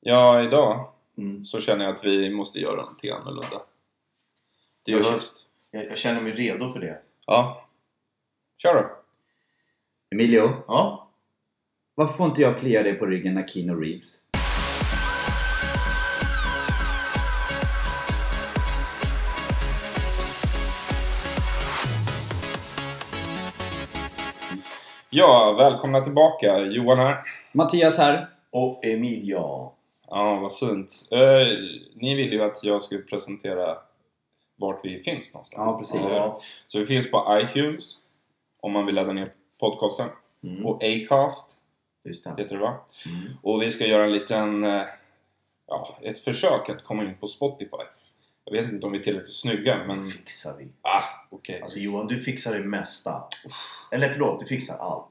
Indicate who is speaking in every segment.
Speaker 1: Ja, idag
Speaker 2: Mm.
Speaker 1: så känner jag att vi måste göra någonting annorlunda. Det är
Speaker 2: Jag
Speaker 1: ju
Speaker 2: kö-
Speaker 1: höst.
Speaker 2: Jag, jag känner mig redo för det.
Speaker 1: Ja. Kör då!
Speaker 3: Emilio,
Speaker 2: Ja,
Speaker 3: varför får inte jag klia dig på ryggen när Keanu Reeves?
Speaker 1: Ja, välkomna tillbaka. Johan här.
Speaker 3: Mattias här.
Speaker 2: och Emilia.
Speaker 1: Ja, vad fint. Eh, ni ville ju att jag skulle presentera vart vi finns någonstans.
Speaker 3: Ja, precis.
Speaker 2: Ja.
Speaker 1: Så vi finns på iTunes, om man vill ladda ner podcasten.
Speaker 2: Mm.
Speaker 1: Och Acast,
Speaker 2: Just det.
Speaker 1: heter det va?
Speaker 2: Mm.
Speaker 1: Och vi ska göra en liten... eh, Ja, ett försök att komma in på Spotify. Jag vet inte om vi är tillräckligt snygga, men...
Speaker 2: Fixar vi.
Speaker 1: Ah, okej.
Speaker 2: Alltså Johan, du fixar det mesta. Eller förlåt, du fixar allt.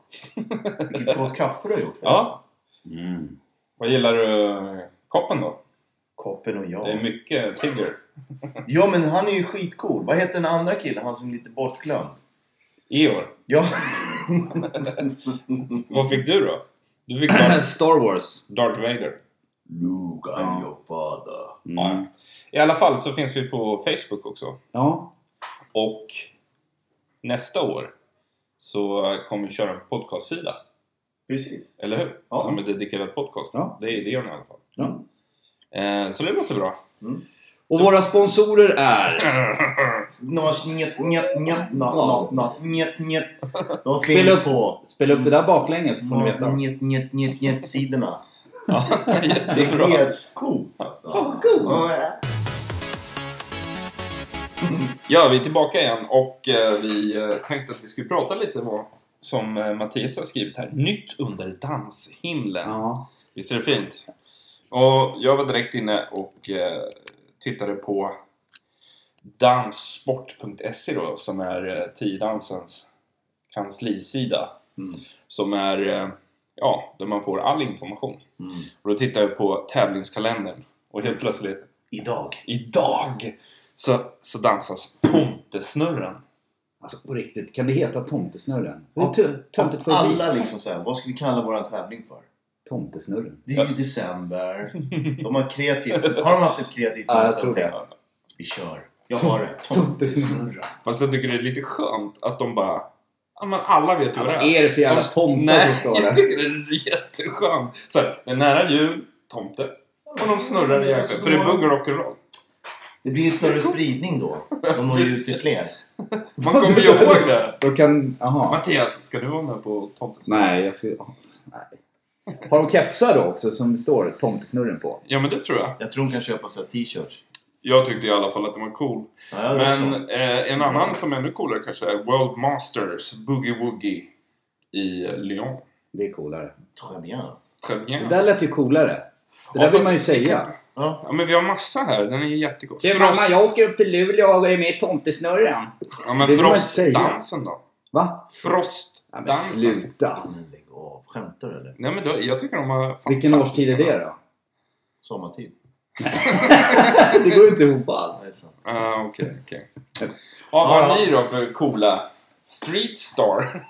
Speaker 2: Vilket gott kaffe du har gjort. förresten.
Speaker 1: Ja,
Speaker 3: Mm.
Speaker 1: vad gillar du koppen då?
Speaker 2: Koppen och
Speaker 1: Det är
Speaker 2: jag.
Speaker 1: mycket Tigger.
Speaker 2: Ja, men han är ju skitcool. Vad heter den andra killen? Han som är lite bortglömd.
Speaker 1: Eeyore,
Speaker 2: Ja,
Speaker 1: vad fick du då? Du fick Darth,
Speaker 3: Star Wars.
Speaker 1: Darth Vader.
Speaker 2: Luke,
Speaker 3: I'm
Speaker 2: your father.
Speaker 3: Mm.
Speaker 1: Ja. I alla fall så finns vi på Facebook också.
Speaker 3: Ja.
Speaker 1: Och nästa år så kommer vi köra en podcastsida.
Speaker 2: Precis.
Speaker 1: Eller hur?
Speaker 2: Ja.
Speaker 1: Som är dedikerad podcast.
Speaker 3: Ja.
Speaker 1: Det är idén i alla fall.
Speaker 3: Ja.
Speaker 1: Eh, så det låter bra.
Speaker 3: Och våra sponsorer är...
Speaker 2: Nors, njet, njet, njet, nat, nat, nat, njet, njet. De
Speaker 3: Spela
Speaker 2: finns
Speaker 3: upp,
Speaker 2: på
Speaker 3: spela upp det där baklänges så får ni
Speaker 2: Nors,
Speaker 3: veta.
Speaker 2: njet, njet, njet, njet, sidorna.
Speaker 1: Ja,
Speaker 2: Det
Speaker 1: jättebra.
Speaker 2: är helt coolt alltså. Ja.
Speaker 1: Ja, vi är tillbaka igen och eh, vi eh, tänkte att vi skulle prata lite om vad som eh, Mattias har skrivit här. Nytt under danshimlen.
Speaker 3: Ja.
Speaker 1: Visst är det fint? Och jag var direkt inne och eh, tittade på danssport.se då, som är eh, Tiodansens kanslisida.
Speaker 2: Mm.
Speaker 1: Som är, eh, ja, där man får all information.
Speaker 2: Mm.
Speaker 1: Och då tittade jag på tävlingskalendern och helt plötsligt,
Speaker 2: Idag.
Speaker 1: IDAG! Så, så dansas Tomtesnurren.
Speaker 3: Alltså på riktigt, kan det heta Tomtesnurren?
Speaker 2: Ja.
Speaker 3: Det är tö- Töntigt för
Speaker 2: Alla liksom såhär, vad ska vi kalla våran tävling för?
Speaker 3: Tomtesnurren.
Speaker 2: Det är ju december. De har kreativt. Har de haft ett kreativt
Speaker 3: Ja, jag
Speaker 2: möte
Speaker 3: tror
Speaker 2: och tänkt, Vi kör. Jag har det. Tomtesnurra.
Speaker 1: Fast jag tycker det är lite skönt att de bara... Ja, men alla vet ju
Speaker 3: Ja,
Speaker 1: vad det
Speaker 3: vad är det för jävla
Speaker 1: De-
Speaker 3: tomtar
Speaker 1: Nej,
Speaker 3: som står där?
Speaker 1: jag tycker det är jätteskönt. Så här, det är nära jul, tomte. Och de snurrar i jakten. För det är bugg och rock'n'roll.
Speaker 2: Det blir en större spridning då. De når ju ut till fler.
Speaker 1: Man kommer ju ihåg det.
Speaker 3: Då kan... Jaha.
Speaker 1: Mattias, ska du vara med på tomtens?
Speaker 3: Nej, jag skulle... åh, nej. Har de kepsar då också som det står Tomtesnurren på?
Speaker 1: Ja, men det tror jag.
Speaker 2: Jag tror de kan köpa så här t-shirts.
Speaker 1: Jag tyckte i alla fall att den var cool.
Speaker 2: Ja, jag men... också.
Speaker 1: Men eh, en annan som är ännu coolare kanske är World Masters Boogie Woogie i eh, Lyon.
Speaker 3: Det är coolare.
Speaker 2: Très bien.
Speaker 1: Très
Speaker 3: Det
Speaker 1: bien.
Speaker 3: där lät ju coolare. Det
Speaker 1: Ja,
Speaker 3: där vill
Speaker 1: fast-
Speaker 3: man ju säga.
Speaker 2: Ja.
Speaker 1: Ja, men vi har massa här. Den är jättecool.
Speaker 3: Du mamma, jag åker upp till Luleå och är med i Tomtesnurren.
Speaker 1: Ja, men
Speaker 3: Det vill man inte
Speaker 1: frostdansen då?
Speaker 3: Va? Ja, men
Speaker 1: Frostdansen?
Speaker 3: sluta.
Speaker 2: Men lägg av. Skämtar du eller?
Speaker 1: Nej men då, jag tycker de har
Speaker 3: Vilken årstid är
Speaker 1: fantastiska-
Speaker 3: det då?
Speaker 2: Sommartid.
Speaker 3: Det går ju inte ihop
Speaker 2: Ja, det är
Speaker 3: alls.
Speaker 2: sant.
Speaker 1: Ah, okej, okej. Ja, vad har ni då för coola Street Star?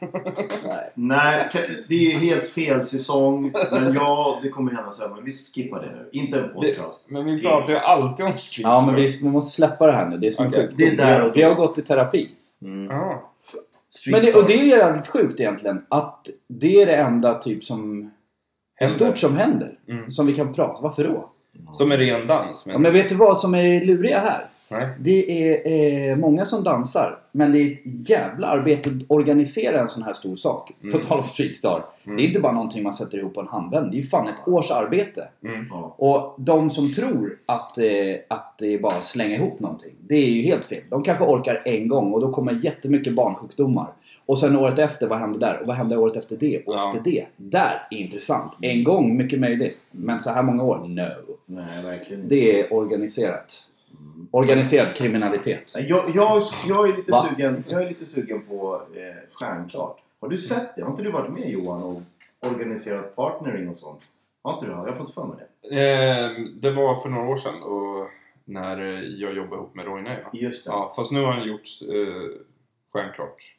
Speaker 3: Nej.
Speaker 2: Nej, kan- det är helt fel säsong. Men ja, det kommer hända sen. Men vi skippar det nu. Inte en podcast.
Speaker 1: Men vi pratar ju alltid om Street
Speaker 3: Ja,
Speaker 1: Star.
Speaker 3: men vi man måste släppa det här nu. Det är som en
Speaker 1: Okej.
Speaker 3: sjukdom.
Speaker 2: Det är där och då.
Speaker 3: Vi har gått i terapi.
Speaker 2: Mm.
Speaker 1: Ja.
Speaker 3: Men det, och det är jävligt sjukt egentligen. Att det är det enda typ som... Det
Speaker 1: Händer.
Speaker 3: stort som händer.
Speaker 1: Mm.
Speaker 3: Som vi kan prata. Varför då?
Speaker 1: Som en ren dans. Men...
Speaker 3: Ja, men vet du vad som är luriga här?
Speaker 1: Nej.
Speaker 3: Det är eh, många som dansar, men det är ett jävla arbete att organisera en sån här stor sak. På
Speaker 1: Mm.
Speaker 3: tal om Streetstar.
Speaker 1: Mm.
Speaker 3: Det är inte bara någonting man sätter ihop på en handvänd. Det är ju fan ett års arbete.
Speaker 1: Mm.
Speaker 2: Ja.
Speaker 3: Och de som tror att, eh, att det är bara att slänga ihop någonting. Det är ju helt fel. De kanske orkar en gång och då kommer jättemycket barnsjukdomar. Och sen året efter, vad hände där? Och vad hände året efter det? Och
Speaker 1: Ja.
Speaker 3: efter det. Där är intressant. En gång, mycket möjligt. Men så här många år? No.
Speaker 2: Nej, verkligen inte.
Speaker 3: Det är organiserat. Organiserad kriminalitet.
Speaker 2: Nej, Jag, jag, jag, är lite
Speaker 3: Va?
Speaker 2: sugen, jag är lite sugen på eh, Stjärnklart. Har du sett det? Har inte du varit med Johan och organiserat partnering och sånt? Har inte du? Har jag fått för mig det?
Speaker 1: Eh, det var för några år sedan och när eh, jag jobbade ihop med Roine. Ja.
Speaker 2: Just det.
Speaker 1: ja, fast nu har han gjort eh, Stjärnklart.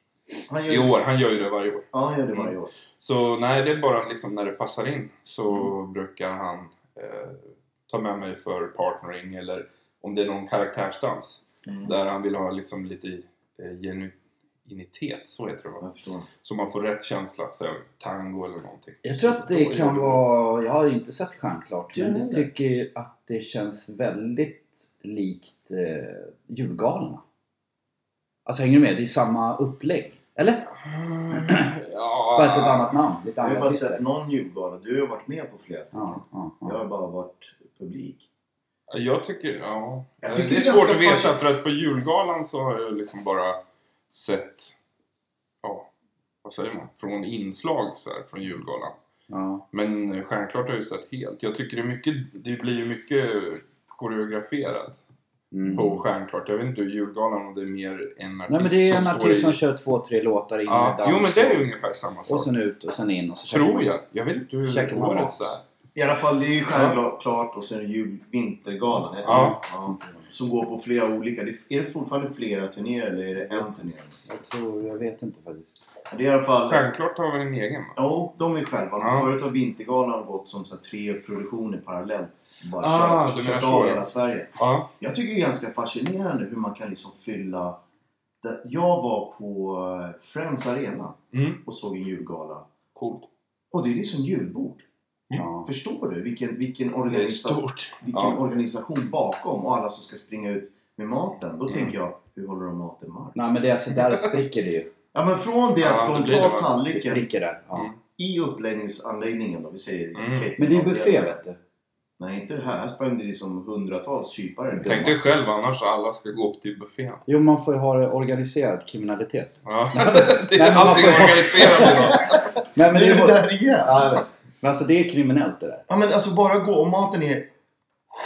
Speaker 2: Han gör,
Speaker 1: I år. Han gör ju det varje år.
Speaker 2: Ja, han gör det varje år.
Speaker 3: Mm.
Speaker 1: Så nej, det är bara liksom när det passar in så brukar han eh, tar med mig för partnering eller om det är någon karaktärsdans
Speaker 2: Mm.
Speaker 1: där han vill ha liksom lite eh, genuinitet, så heter det
Speaker 3: Mm.
Speaker 1: va?
Speaker 2: Jag förstår.
Speaker 1: Så man får rätt känsla, så här, tango eller någonting.
Speaker 3: Jag tror att det
Speaker 1: Då är
Speaker 3: kan vara... Jag har ju inte sett Stjärnklart.
Speaker 2: Jag
Speaker 3: Men jag
Speaker 2: heller.
Speaker 3: tycker ju att det känns väldigt likt eh, julgalorna. Alltså hänger du med? Det är samma upplägg. Eller?
Speaker 1: Ja,
Speaker 3: Bara ett annat namn. Lite
Speaker 2: Jag har
Speaker 3: andra
Speaker 2: bara
Speaker 3: artister.
Speaker 2: sett någon julgala. Du har varit med på flera stycken.
Speaker 3: Ja, ja,
Speaker 2: Jag
Speaker 3: ja.
Speaker 2: har bara varit publik.
Speaker 1: Jag tycker, ja. Eh,
Speaker 2: Jag tycker
Speaker 1: det är
Speaker 2: det är
Speaker 1: svårt att
Speaker 2: ganska
Speaker 1: veta
Speaker 2: fascin-
Speaker 1: för att på julgalan så har jag liksom bara sett, ja, vad säger man, från inslag så här, från julgalan.
Speaker 3: ja.
Speaker 1: Men eh, stjärnklart har jag ju sett helt. Jag tycker det, är mycket, det blir ju mycket koreograferat
Speaker 3: Mm.
Speaker 1: på stjärnklart. Jag vet inte hur julgalan om det är mer en artist
Speaker 3: Nej men det är en
Speaker 1: som
Speaker 3: artist
Speaker 1: står
Speaker 3: som
Speaker 1: i...
Speaker 3: kör två, tre låtar in med
Speaker 1: Ja,
Speaker 3: dans
Speaker 1: jo men det är ju ungefär samma
Speaker 3: Och
Speaker 1: sak.
Speaker 3: sen ut och sen in och så
Speaker 1: Tror jag. Jag vet inte hur
Speaker 3: Käkar man mat?
Speaker 1: årets är.
Speaker 2: I alla fall, det är ju självklart och sen är det jul, vintergalan. heter
Speaker 1: Ja.
Speaker 2: det. Ja. Som går på flera olika. Det- Är det fortfarande flera turnéer eller är det en turné?
Speaker 3: Jag tror, jag vet inte faktiskt.
Speaker 2: Det är i alla fall...
Speaker 1: Stjärnklart har väl en egen va?
Speaker 2: Ja, de är själva. Men
Speaker 1: Ja.
Speaker 2: Förut har Vintergalan gått som så här, tre produktioner parallellt. Bara
Speaker 1: Ah,
Speaker 2: kört,
Speaker 1: du menar
Speaker 2: kört
Speaker 1: så,
Speaker 2: av
Speaker 1: ja.
Speaker 2: hela Sverige.
Speaker 1: Ja.
Speaker 2: Jag tycker det är ganska fascinerande hur man kan liksom fylla... det- Jag var på eh, Friends Arena
Speaker 1: Mm.
Speaker 2: och såg en julgala.
Speaker 1: Coolt.
Speaker 2: Och det är liksom julbord.
Speaker 1: Mm.
Speaker 3: Ja.
Speaker 2: Förstår du vilken, vilken,
Speaker 1: Det är
Speaker 2: organisa-
Speaker 1: stort.
Speaker 2: vilken
Speaker 1: Ja.
Speaker 2: organisation bakom och alla som ska springa ut med maten? Då
Speaker 1: Mm.
Speaker 2: tänker jag, hur håller de maten varm?
Speaker 3: Nej men det är alltså, där spricker det ju.
Speaker 2: Ja men från det
Speaker 1: Ja,
Speaker 2: att
Speaker 1: det
Speaker 2: de
Speaker 1: blir det,
Speaker 2: tar
Speaker 1: va?
Speaker 3: Det
Speaker 2: tallriken
Speaker 3: spricker där. Ja.
Speaker 1: Mm.
Speaker 2: i uppläggningsanläggningen då, vi säger
Speaker 1: Mm.
Speaker 2: catering-
Speaker 3: Men det är buffé vet du.
Speaker 2: Nej, inte det här. Här sprang det liksom hundratals kypare.
Speaker 1: Tänk dig själv annars alla ska gå upp till buffén.
Speaker 3: Jo man får ju ha organiserad kriminalitet.
Speaker 1: Ja. Det
Speaker 3: Nej,
Speaker 1: är
Speaker 3: men
Speaker 1: allting
Speaker 3: man får-
Speaker 1: organiserat idag.
Speaker 3: Nej,
Speaker 2: Nu
Speaker 3: men
Speaker 2: är
Speaker 3: det
Speaker 2: det
Speaker 3: är...
Speaker 2: där igen!
Speaker 3: Ja, jag vet. men alltså det är kriminellt det där.
Speaker 2: Ja men alltså bara gå. Om maten är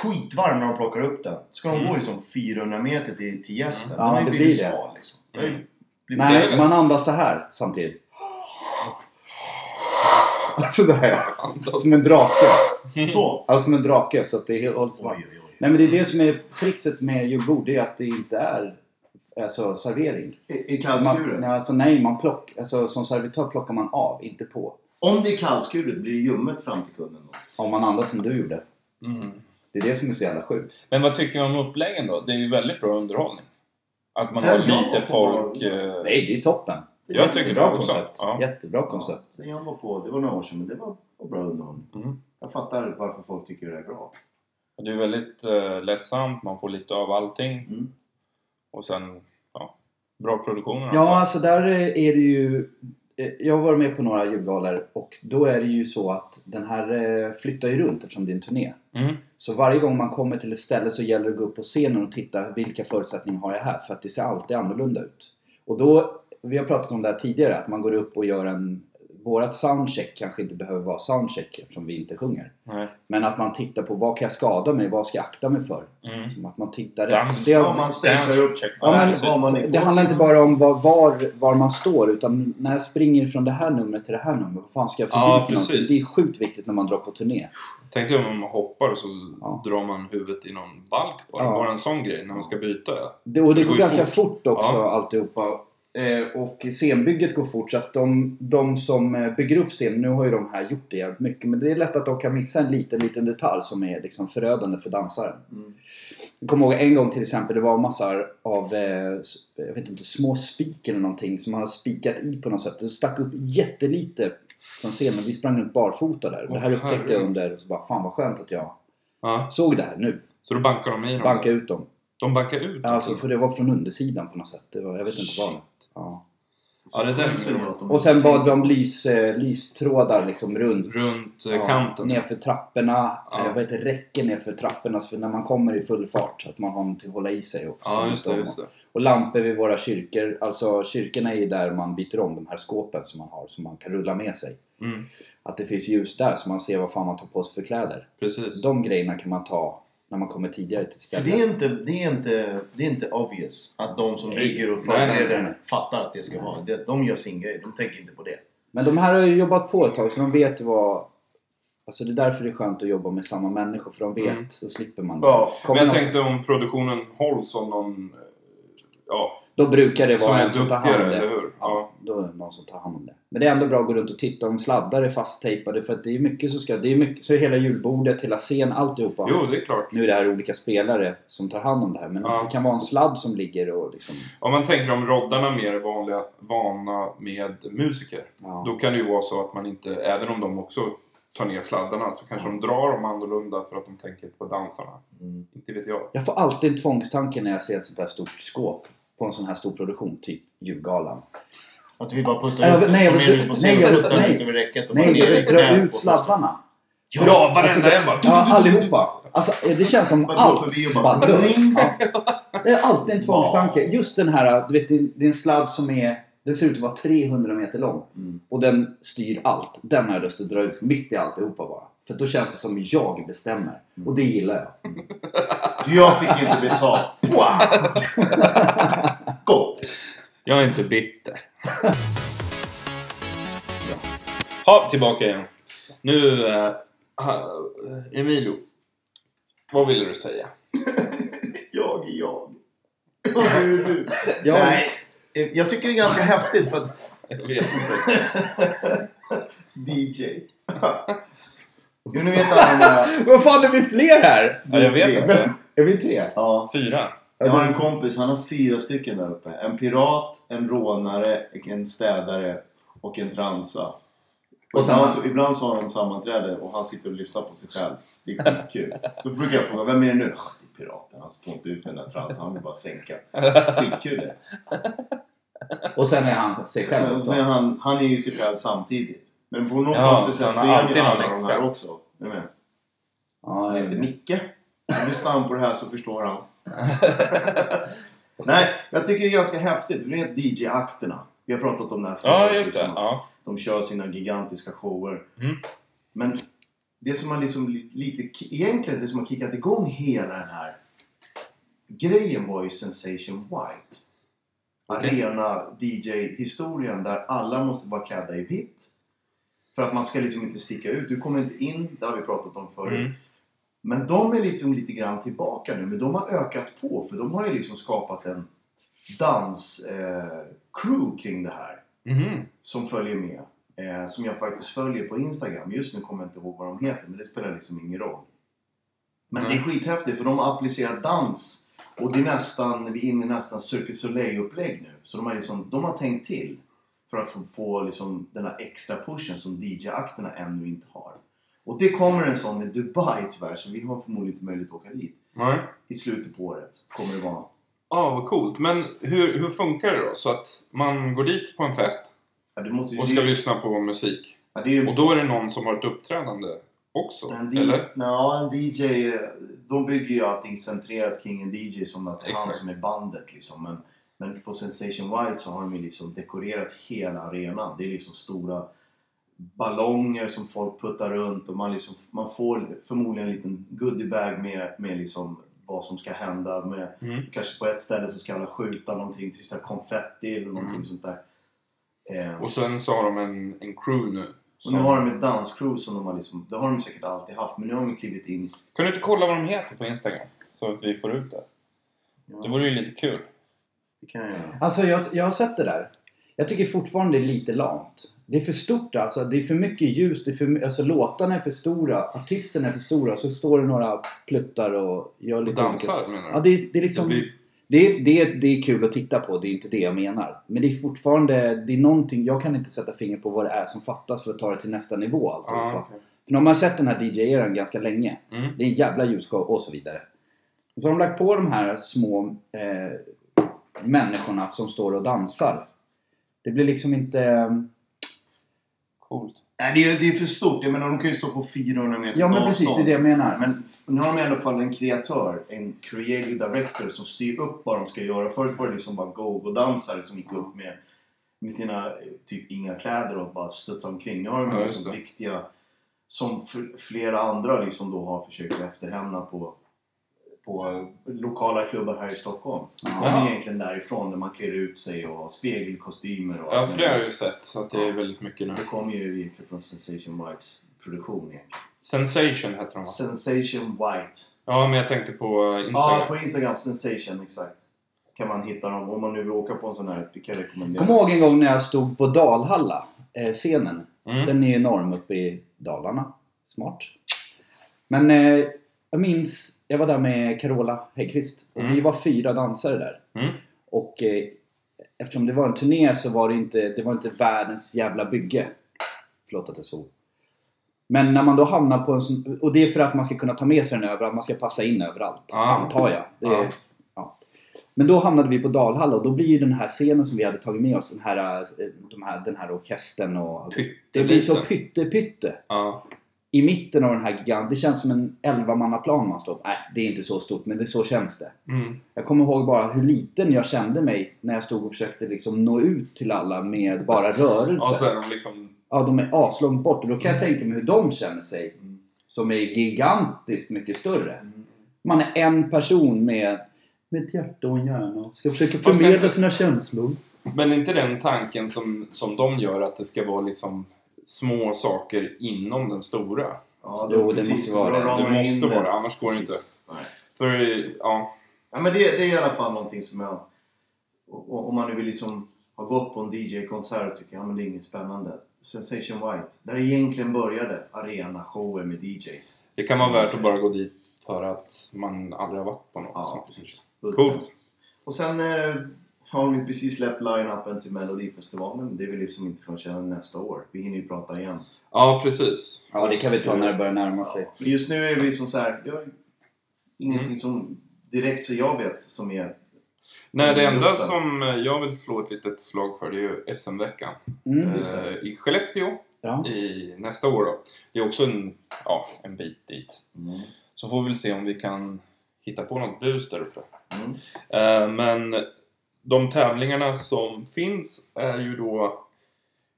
Speaker 2: skitvarm när de plockar upp den. Ska de
Speaker 1: Mm.
Speaker 2: gå liksom 400 meter till, till gästen?
Speaker 3: Ja,
Speaker 2: den har ju
Speaker 3: det
Speaker 2: blivit
Speaker 3: blir det.
Speaker 2: sval liksom. Den har
Speaker 1: Mm.
Speaker 2: ju blivit-
Speaker 1: Det är det.
Speaker 3: Nej, man andas så här samtidigt. Alltså det här.
Speaker 1: Andas.
Speaker 3: Som en drake.
Speaker 2: Så!
Speaker 3: Alltså som en drake så att det är helt hålls varmt.
Speaker 2: Oj, oj, oj.
Speaker 3: Nej men det är det som är trixet med julbord. Det är att det inte är alltså, servering.
Speaker 2: I, i
Speaker 3: Man,
Speaker 2: kallskuret?
Speaker 3: nej, alltså, nej, man plock, alltså, som servitör plockar man av, inte på.
Speaker 2: Om det är kallskuret blir det ljummet fram till kunden då?
Speaker 3: Om man andas som du gjorde.
Speaker 1: Mm.
Speaker 3: Det är det som är så jävla sjukt.
Speaker 1: Men vad tycker du om uppläggen då? Det är ju väldigt bra underhållning. Att man
Speaker 2: Den
Speaker 1: har
Speaker 2: jag
Speaker 1: lite
Speaker 2: var på-
Speaker 1: folk... eh,
Speaker 3: Nej, det är toppen.
Speaker 2: Det är
Speaker 1: Jag tycker det
Speaker 3: Bra
Speaker 1: också.
Speaker 3: koncept.
Speaker 1: Ja.
Speaker 3: Jättebra koncept.
Speaker 2: Ja, den jag var på, det var några år sedan, men det var, var bra underhållning.
Speaker 1: Mm.
Speaker 2: Jag fattar varför folk tycker det är bra.
Speaker 1: Och Det är väldigt eh, lättsamt, man får lite av allting.
Speaker 2: Mm.
Speaker 1: Och sen, ja, bra produktioner.
Speaker 3: Ja, alltså där är det ju... eh, Jag har varit med på några julgalor och då är det ju så att den här eh, flyttar ju runt eftersom det är en turné.
Speaker 1: Mm.
Speaker 3: Så varje gång man kommer till ett ställe så gäller det att gå upp på scenen och titta vilka förutsättningar har jag här? För att det ser alltid annorlunda ut. Och då, vi har pratat om det här tidigare, att man går upp och gör en... Vårat soundcheck kanske inte behöver vara soundcheck eftersom vi inte sjunger.
Speaker 1: Nej.
Speaker 3: Men att man tittar på vad kan jag skada mig? Vad ska jag akta mig för?
Speaker 1: Mm.
Speaker 3: Som att man tittar
Speaker 1: Dans.
Speaker 3: Det-
Speaker 2: Ja, man stagear upp.
Speaker 1: Check.
Speaker 3: Ja, men-
Speaker 2: vad man är på
Speaker 3: det handlar
Speaker 2: sig.
Speaker 3: inte bara om var, var, var man står utan när jag springer från det här numret till det här numret, vad fan ska jag förbi
Speaker 1: Ja,
Speaker 3: för någonting?
Speaker 1: precis.
Speaker 3: Det är sjukt viktigt när man drar på turné.
Speaker 1: Tänk dig om man hoppar och så
Speaker 3: Ja.
Speaker 1: drar man huvudet i någon balk bara.
Speaker 3: Ja.
Speaker 1: Bara en sån grej när man ska byta. Ja.
Speaker 3: Det, och det,
Speaker 1: Det går
Speaker 3: går
Speaker 1: ju
Speaker 3: ganska
Speaker 1: fort.
Speaker 3: fort, också
Speaker 1: Ja.
Speaker 3: alltihopa. Eh, och scenbygget går fort så att de, de som eh, bygger upp scenen, nu har ju de här gjort det jävligt mycket men det är lätt att de kan missa en liten, liten detalj som är liksom förödande för dansaren.
Speaker 2: Mm.
Speaker 3: Jag kommer ihåg en gång till exempel, det var massor av, eh, s- jag vet inte, små spik eller någonting som man hade spikat i på något sätt. Det stack upp jättelite från scenen. Vi sprang runt barfota där. det här
Speaker 1: Åh,
Speaker 3: upptäckte jag
Speaker 1: herregud.
Speaker 3: under, och så bara fan vad skönt att jag
Speaker 1: Ja.
Speaker 3: såg det här nu.
Speaker 1: Så då bankar de i dem.
Speaker 3: Banka ut dem.
Speaker 1: De bankar ut dem.
Speaker 3: Alltså för det var från undersidan på något sätt. Det var, jag vet inte vad. det- Ja.
Speaker 2: Så
Speaker 1: Ja, det där
Speaker 2: sjukt
Speaker 1: är
Speaker 2: var att de
Speaker 3: Och sen
Speaker 2: inte
Speaker 3: bad vi om lys, eh, lystrådar liksom runt.
Speaker 1: Runt eh,
Speaker 3: Ja,
Speaker 1: kanten.
Speaker 3: Nerför trapporna,
Speaker 1: Ja.
Speaker 3: ja. vad heter det, räcken nerför trapporna. Så när man kommer i full fart, att man har någonting att hålla i sig. Och,
Speaker 1: Ja, just det. Just det.
Speaker 3: Och lampor vid våra kyrkor. Alltså kyrkorna är ju där man byter om de här skåpen som man har, som man kan rulla med sig.
Speaker 1: Mm.
Speaker 3: Att det finns ljus där så man ser vad fan man tar på sig för kläder.
Speaker 1: Precis.
Speaker 3: De grejerna kan man ta när man kommer tidigare till
Speaker 2: För
Speaker 3: stället.
Speaker 2: det är, inte, det, är inte, det är inte obvious att de som
Speaker 3: Nej.
Speaker 2: bygger och
Speaker 1: Nej, nej, nej,
Speaker 2: förbereder
Speaker 3: nej.
Speaker 2: fattar att det ska vara. Det, de gör sin grej, de tänker inte på det.
Speaker 3: Men de här har ju jobbat på ett tag så de vet ju vad... Alltså det är därför det är skönt att jobba med samma människor för de vet,
Speaker 1: Mm.
Speaker 3: så slipper man det.
Speaker 2: Ja,
Speaker 3: Kommer
Speaker 1: Men jag
Speaker 3: någon-
Speaker 1: tänkte om produktionen hålls av någon... eh, Ja,
Speaker 3: Då brukar det
Speaker 1: Som
Speaker 3: vara
Speaker 1: är
Speaker 3: en som tar hand om
Speaker 1: duktigare, eller
Speaker 3: det.
Speaker 1: hur? Ja.
Speaker 3: Då är det någon som tar hand om det. Men det är ändå bra att gå runt och titta om sladdar är fasttejpade för att det är mycket som ska... Det är mycket, så är hela julbordet, hela scen, alltihopa.
Speaker 1: Jo, det är klart.
Speaker 3: Nu är det här olika spelare som tar hand om det här men
Speaker 1: Ja.
Speaker 3: det kan vara en sladd som ligger och liksom...
Speaker 1: Om man tänker om roddarna mer är vanliga, vana med musiker.
Speaker 3: Ja.
Speaker 1: Då kan det ju vara så att man inte, även om de också tar ner sladdarna, så kanske de drar dem annorlunda för att de tänker på dansarna.
Speaker 2: Mm.
Speaker 1: Inte vet jag.
Speaker 3: Jag får alltid en tvångstanke när jag ser ett sånt här stort skåp på en sån här stor produktion, typ julgalan.
Speaker 4: Att du vill bara putta
Speaker 3: Ja,
Speaker 4: ut
Speaker 3: jag- nej, jag
Speaker 4: ta
Speaker 3: vill-
Speaker 4: med dig ut på
Speaker 3: nej, jag
Speaker 4: scenen
Speaker 3: vill-
Speaker 4: och putta
Speaker 3: nej.
Speaker 4: ut över räcket och bara
Speaker 3: Nej,
Speaker 4: ner i
Speaker 3: jag drar
Speaker 4: knät på
Speaker 3: ut
Speaker 4: första.
Speaker 3: sladdarna!
Speaker 1: Ja, varenda en bara...
Speaker 3: Ja, allihopa! Alltså, det känns som
Speaker 2: Man går
Speaker 3: allt
Speaker 2: förbi och
Speaker 3: bara
Speaker 2: bara-
Speaker 3: dör. Ja. Det är alltid en tvångstanke.
Speaker 4: Ja.
Speaker 3: Just den här, du vet, det är- det är en sladd som är... Den ser ut att vara 300 meter lång.
Speaker 2: Mm.
Speaker 3: Och den styr allt. Den har jag lust att dra ut mitt i alltihopa bara. För då känns det som jag bestämmer. Och det gillar jag.
Speaker 4: Jag fick inte betalt. Pua! Gott!
Speaker 1: Jag är inte bitter. ja. Ha, tillbaka igen. Nu, eh, ha- eh, Emilio. Vad ville du säga?
Speaker 4: Jag är jag. Och du är du.
Speaker 3: Ja.
Speaker 4: Nej.
Speaker 2: Eh, Jag tycker det är ganska häftigt för att
Speaker 1: Jag vet inte.
Speaker 4: DJ.
Speaker 2: Jo, ni vet alla de där...
Speaker 3: Vad fan, är vi fler här?
Speaker 1: Ja, jag vet inte.
Speaker 3: Är vi tre?
Speaker 2: Ja.
Speaker 1: Fyra.
Speaker 2: Jag har en kompis, han har fyra stycken där uppe. En pirat, en rånare, en städare och en transa. Och
Speaker 3: Och samma-
Speaker 2: ibland, så, ibland så har de sammanträde och han sitter och lyssnar på sig själv. Det är skitkul. Så brukar jag fråga, vem är det nu? "Ah, Det är piraten, han står inte ut med den där transan, han vill bara sänka. Skitkul det.
Speaker 3: Och sen är han sig själv
Speaker 2: Sen,
Speaker 3: också.
Speaker 2: sen är han, han är ju sig själv samtidigt. Men på något
Speaker 1: Ja,
Speaker 2: konstigt
Speaker 1: så han
Speaker 2: sätt så
Speaker 1: har
Speaker 2: är han ju
Speaker 1: alltid någon
Speaker 2: alla de
Speaker 1: extra. Mm.
Speaker 2: här också. Jag menar,
Speaker 3: Ja,
Speaker 2: Han
Speaker 3: jag
Speaker 2: heter
Speaker 3: vet.
Speaker 2: Micke. Lyssnar han på det här så förstår han. Nej, jag tycker det är ganska häftigt. Du vet DJ-akterna. Vi har pratat om det här
Speaker 1: Ja, just det.
Speaker 2: liksom.
Speaker 1: Ja.
Speaker 2: De kör sina gigantiska shower.
Speaker 1: Mm.
Speaker 2: Men det som har liksom li- lite... Egentligen det som har kickat igång hela den här grejen var ju Sensation White.
Speaker 1: Okej.
Speaker 2: Arena-DJ-historien där alla måste vara klädda i vitt. För att man ska liksom inte sticka ut. Du kommer inte in, det har vi pratat om förut.
Speaker 1: Mm.
Speaker 2: Men de är liksom lite grann tillbaka nu, men de har ökat på för de har ju liksom skapat en danscrew eh, crew kring det här
Speaker 1: Mhm.
Speaker 2: som följer med. Eh, som jag faktiskt följer på Instagram. Just nu kommer jag inte ihåg vad de heter, men det spelar liksom ingen roll. Men det är skithäftigt för de har applicerat dans och det är nästan, vi är inne i nästan Cirkus Soleil-upplägg nu. Så de har, liksom, de har tänkt till för att få, få liksom den här extra pushen som DJ-akterna ännu inte har. Och det kommer en sån i Dubai tyvärr, så vi har förmodligen inte möjlighet att åka dit.
Speaker 1: Nej.
Speaker 2: I slutet på året kommer det vara.
Speaker 1: Ja, vad coolt. Men hur, hur funkar det då? Så att man går dit på en fest
Speaker 2: Ja, du måste ju...
Speaker 1: och ska lyssna på musik.
Speaker 2: ja, det är ju
Speaker 1: Och då är det någon som har ett uppträdande också?
Speaker 2: En, D-
Speaker 1: Eller?
Speaker 2: Nja, en DJ, de bygger ju allting centrerat kring en DJ som att det är han
Speaker 1: Exakt.
Speaker 2: som är bandet liksom. Men, men på Sensation White så har de ju liksom dekorerat hela arenan. Det är liksom stora ballonger som folk puttar runt och man, liksom, man får förmodligen en liten goodiebag med, med liksom vad som ska hända. Med,
Speaker 1: Mm.
Speaker 2: Kanske på ett ställe så ska alla skjuta någonting, typ så här konfetti eller någonting
Speaker 1: Mm.
Speaker 2: sånt där. Eh,
Speaker 1: Och sen så har de en, en crew nu.
Speaker 2: och nu har de ett danscrew som de har liksom, det har de säkert alltid haft, men nu har de klivit in
Speaker 1: Kan du inte kolla vad de heter på Instagram? Så att vi får ut det.
Speaker 2: Ja.
Speaker 1: Det vore ju lite kul.
Speaker 2: Det kan jag göra.
Speaker 3: Alltså jag, jag har sett det där. Jag tycker fortfarande det är lite lamt. Det är för stort alltså. Det är för mycket ljus. Det är för, my- alltså, låtarna är för stora. Artisterna är för stora. Så står det några pluttar och gör
Speaker 1: Och
Speaker 3: lite olika-
Speaker 1: dansar menar du?
Speaker 3: Ja, det, det är liksom...
Speaker 1: Det
Speaker 3: Det,
Speaker 1: blir-
Speaker 3: det, det, är kul att titta på. Det är inte det jag menar. Men det är fortfarande... Det är någonting... Jag kan inte sätta finger på vad det är som fattas för att ta det till nästa nivå. alltihopa.
Speaker 1: Ja, okej.
Speaker 3: För nu har man sett den här DJ-eran ganska länge.
Speaker 1: Mm.
Speaker 3: Det är en jävla ljusshow och så vidare. Och så har de lagt på de här små eh, människorna som står och dansar. Det blir liksom inte...
Speaker 1: Coolt.
Speaker 2: Nej, det är ju det är för stort. Jag menar, de kan ju stå på 400 meters
Speaker 3: Ja men precis, det är
Speaker 2: avstånd.
Speaker 3: det jag menar.
Speaker 2: Men f- nu har de i alla fall en kreatör, en creative director som styr upp vad de ska göra. Förut var det liksom bara go-go-dansare som gick upp med, med sina eh, typ inga kläder och bara studsade omkring. Nu har de
Speaker 1: Ja, just
Speaker 2: liksom
Speaker 1: det.
Speaker 2: riktiga, som f- flera andra liksom då har försökt efterhämna på, på eh, lokala klubbar här i Stockholm. Det
Speaker 1: Ja.
Speaker 2: kommer egentligen därifrån, där man klär ut sig och har spegelkostymer och
Speaker 1: Ja,
Speaker 2: allt
Speaker 1: för det har jag
Speaker 2: möjligt.
Speaker 1: ju sett. Så att det är väldigt mycket nu.
Speaker 2: Det kommer ju egentligen från Sensation Whites produktion egentligen.
Speaker 1: Sensation heter de va?
Speaker 2: Sensation White.
Speaker 1: Ja, men jag tänkte på eh,
Speaker 2: Ja,
Speaker 1: Instagram.
Speaker 2: på Instagram. Sensation, exakt. kan man hitta dem. Om man nu vill åka på en sån här, det kan jag rekommendera.
Speaker 3: Kom ihåg en gång när jag stod på Dalhalla, eh, scenen.
Speaker 1: Mm.
Speaker 3: Den är enorm uppe i Dalarna. Smart. Men eh, jag minns, jag var där med Carola Häggkvist och
Speaker 1: Mm.
Speaker 3: vi var fyra dansare där.
Speaker 1: Mm.
Speaker 3: Och eh, eftersom det var en turné så var det inte, det var inte världens jävla bygge. Förlåt att jag svor. Men när man då hamnar på en sån, och det är för att man ska kunna ta med sig den överallt, man ska passa in överallt.
Speaker 1: Ah.
Speaker 3: Antar jag. Det är,
Speaker 1: Ah.
Speaker 3: ja. Men då hamnade vi på Dalhalla och då blir ju den här scenen som vi hade tagit med oss, den här, eh, de här, den här orkestern och... Det blir så
Speaker 1: Pytteliten.
Speaker 3: pytte pytte
Speaker 1: Ja.
Speaker 3: i mitten av den här giganten. Det känns som en 11-mannaplan man står på. Nej, det är inte så stort, men det så känns det.
Speaker 1: Mm.
Speaker 3: Jag kommer ihåg bara hur liten jag kände mig när jag stod och försökte liksom nå ut till alla med bara rörelser.
Speaker 1: Och så är de liksom...
Speaker 3: Ja, de är aslångt bort och då kan jag tänka mig hur de känner sig.
Speaker 2: Mm.
Speaker 3: Som är gigantiskt mycket större. Man är en person med, med ett hjärta och en hjärna. Ska försöka
Speaker 1: sen
Speaker 3: förmedla
Speaker 1: så-
Speaker 3: sina känslor.
Speaker 1: Men är inte den tanken som, som de gör att det ska vara liksom små saker inom den stora?
Speaker 2: Ja,
Speaker 3: Jo, det
Speaker 2: precis.
Speaker 3: måste vara
Speaker 2: Då
Speaker 3: det.
Speaker 2: ramar
Speaker 1: Det
Speaker 2: jag in
Speaker 1: måste
Speaker 2: den.
Speaker 1: vara annars går det inte.
Speaker 2: Precis. Nej.
Speaker 1: För, ja.
Speaker 2: Ja, men det, det är i alla fall någonting som jag... och- och- Om man nu vill liksom ha gått på en DJ-konsert och tycker ja, men det är inget spännande. Sensation White, där det egentligen började arenashower med DJs.
Speaker 1: Det kan vara värt att bara gå dit för att man aldrig har varit på något
Speaker 2: Ja,
Speaker 1: sånt.
Speaker 2: precis.
Speaker 1: Coolt.
Speaker 2: Och sen eh, har vi precis släppt line-upen till Melodifestivalen. Det är väl liksom inte förrän sedan nästa år. Vi hinner ju prata igen.
Speaker 1: Ja, precis.
Speaker 3: Ja, det kan vi ta när det börjar närma sig.
Speaker 2: Men just nu är det liksom så här, jag har ingenting
Speaker 3: Mm.
Speaker 2: som direkt så jag vet som är...
Speaker 1: Nej, det enda
Speaker 2: Låten.
Speaker 1: som jag vill slå ett litet slag för det är ju SM-veckan.
Speaker 3: Mm.
Speaker 2: just det.
Speaker 1: Eh, I Skellefteå
Speaker 3: Ja.
Speaker 1: i nästa år då. Det är också en, ja, en bit dit.
Speaker 2: Mm.
Speaker 1: Så får vi väl se om vi kan hitta på något bus där uppe.
Speaker 2: Mm.
Speaker 1: Eh, Men de tävlingarna som finns är ju då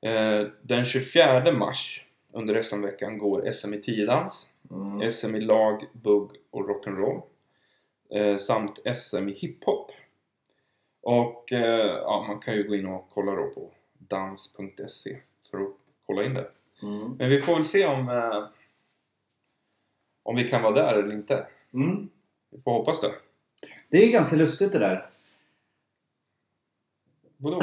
Speaker 1: eh, den 24 mars under SM-veckan går SM i tiodans,
Speaker 2: Mm.
Speaker 1: SM i lag, bugg och rock'n'roll eh, samt SM i hiphop. Och eh, ja, man kan ju gå in och kolla då på dans.se E för att kolla in det.
Speaker 2: Mm.
Speaker 1: Men vi får väl se om, eh, om vi kan vara där eller inte.
Speaker 2: Mm.
Speaker 1: Vi får hoppas det.
Speaker 3: Det är ganska lustigt det där.
Speaker 1: Vadå?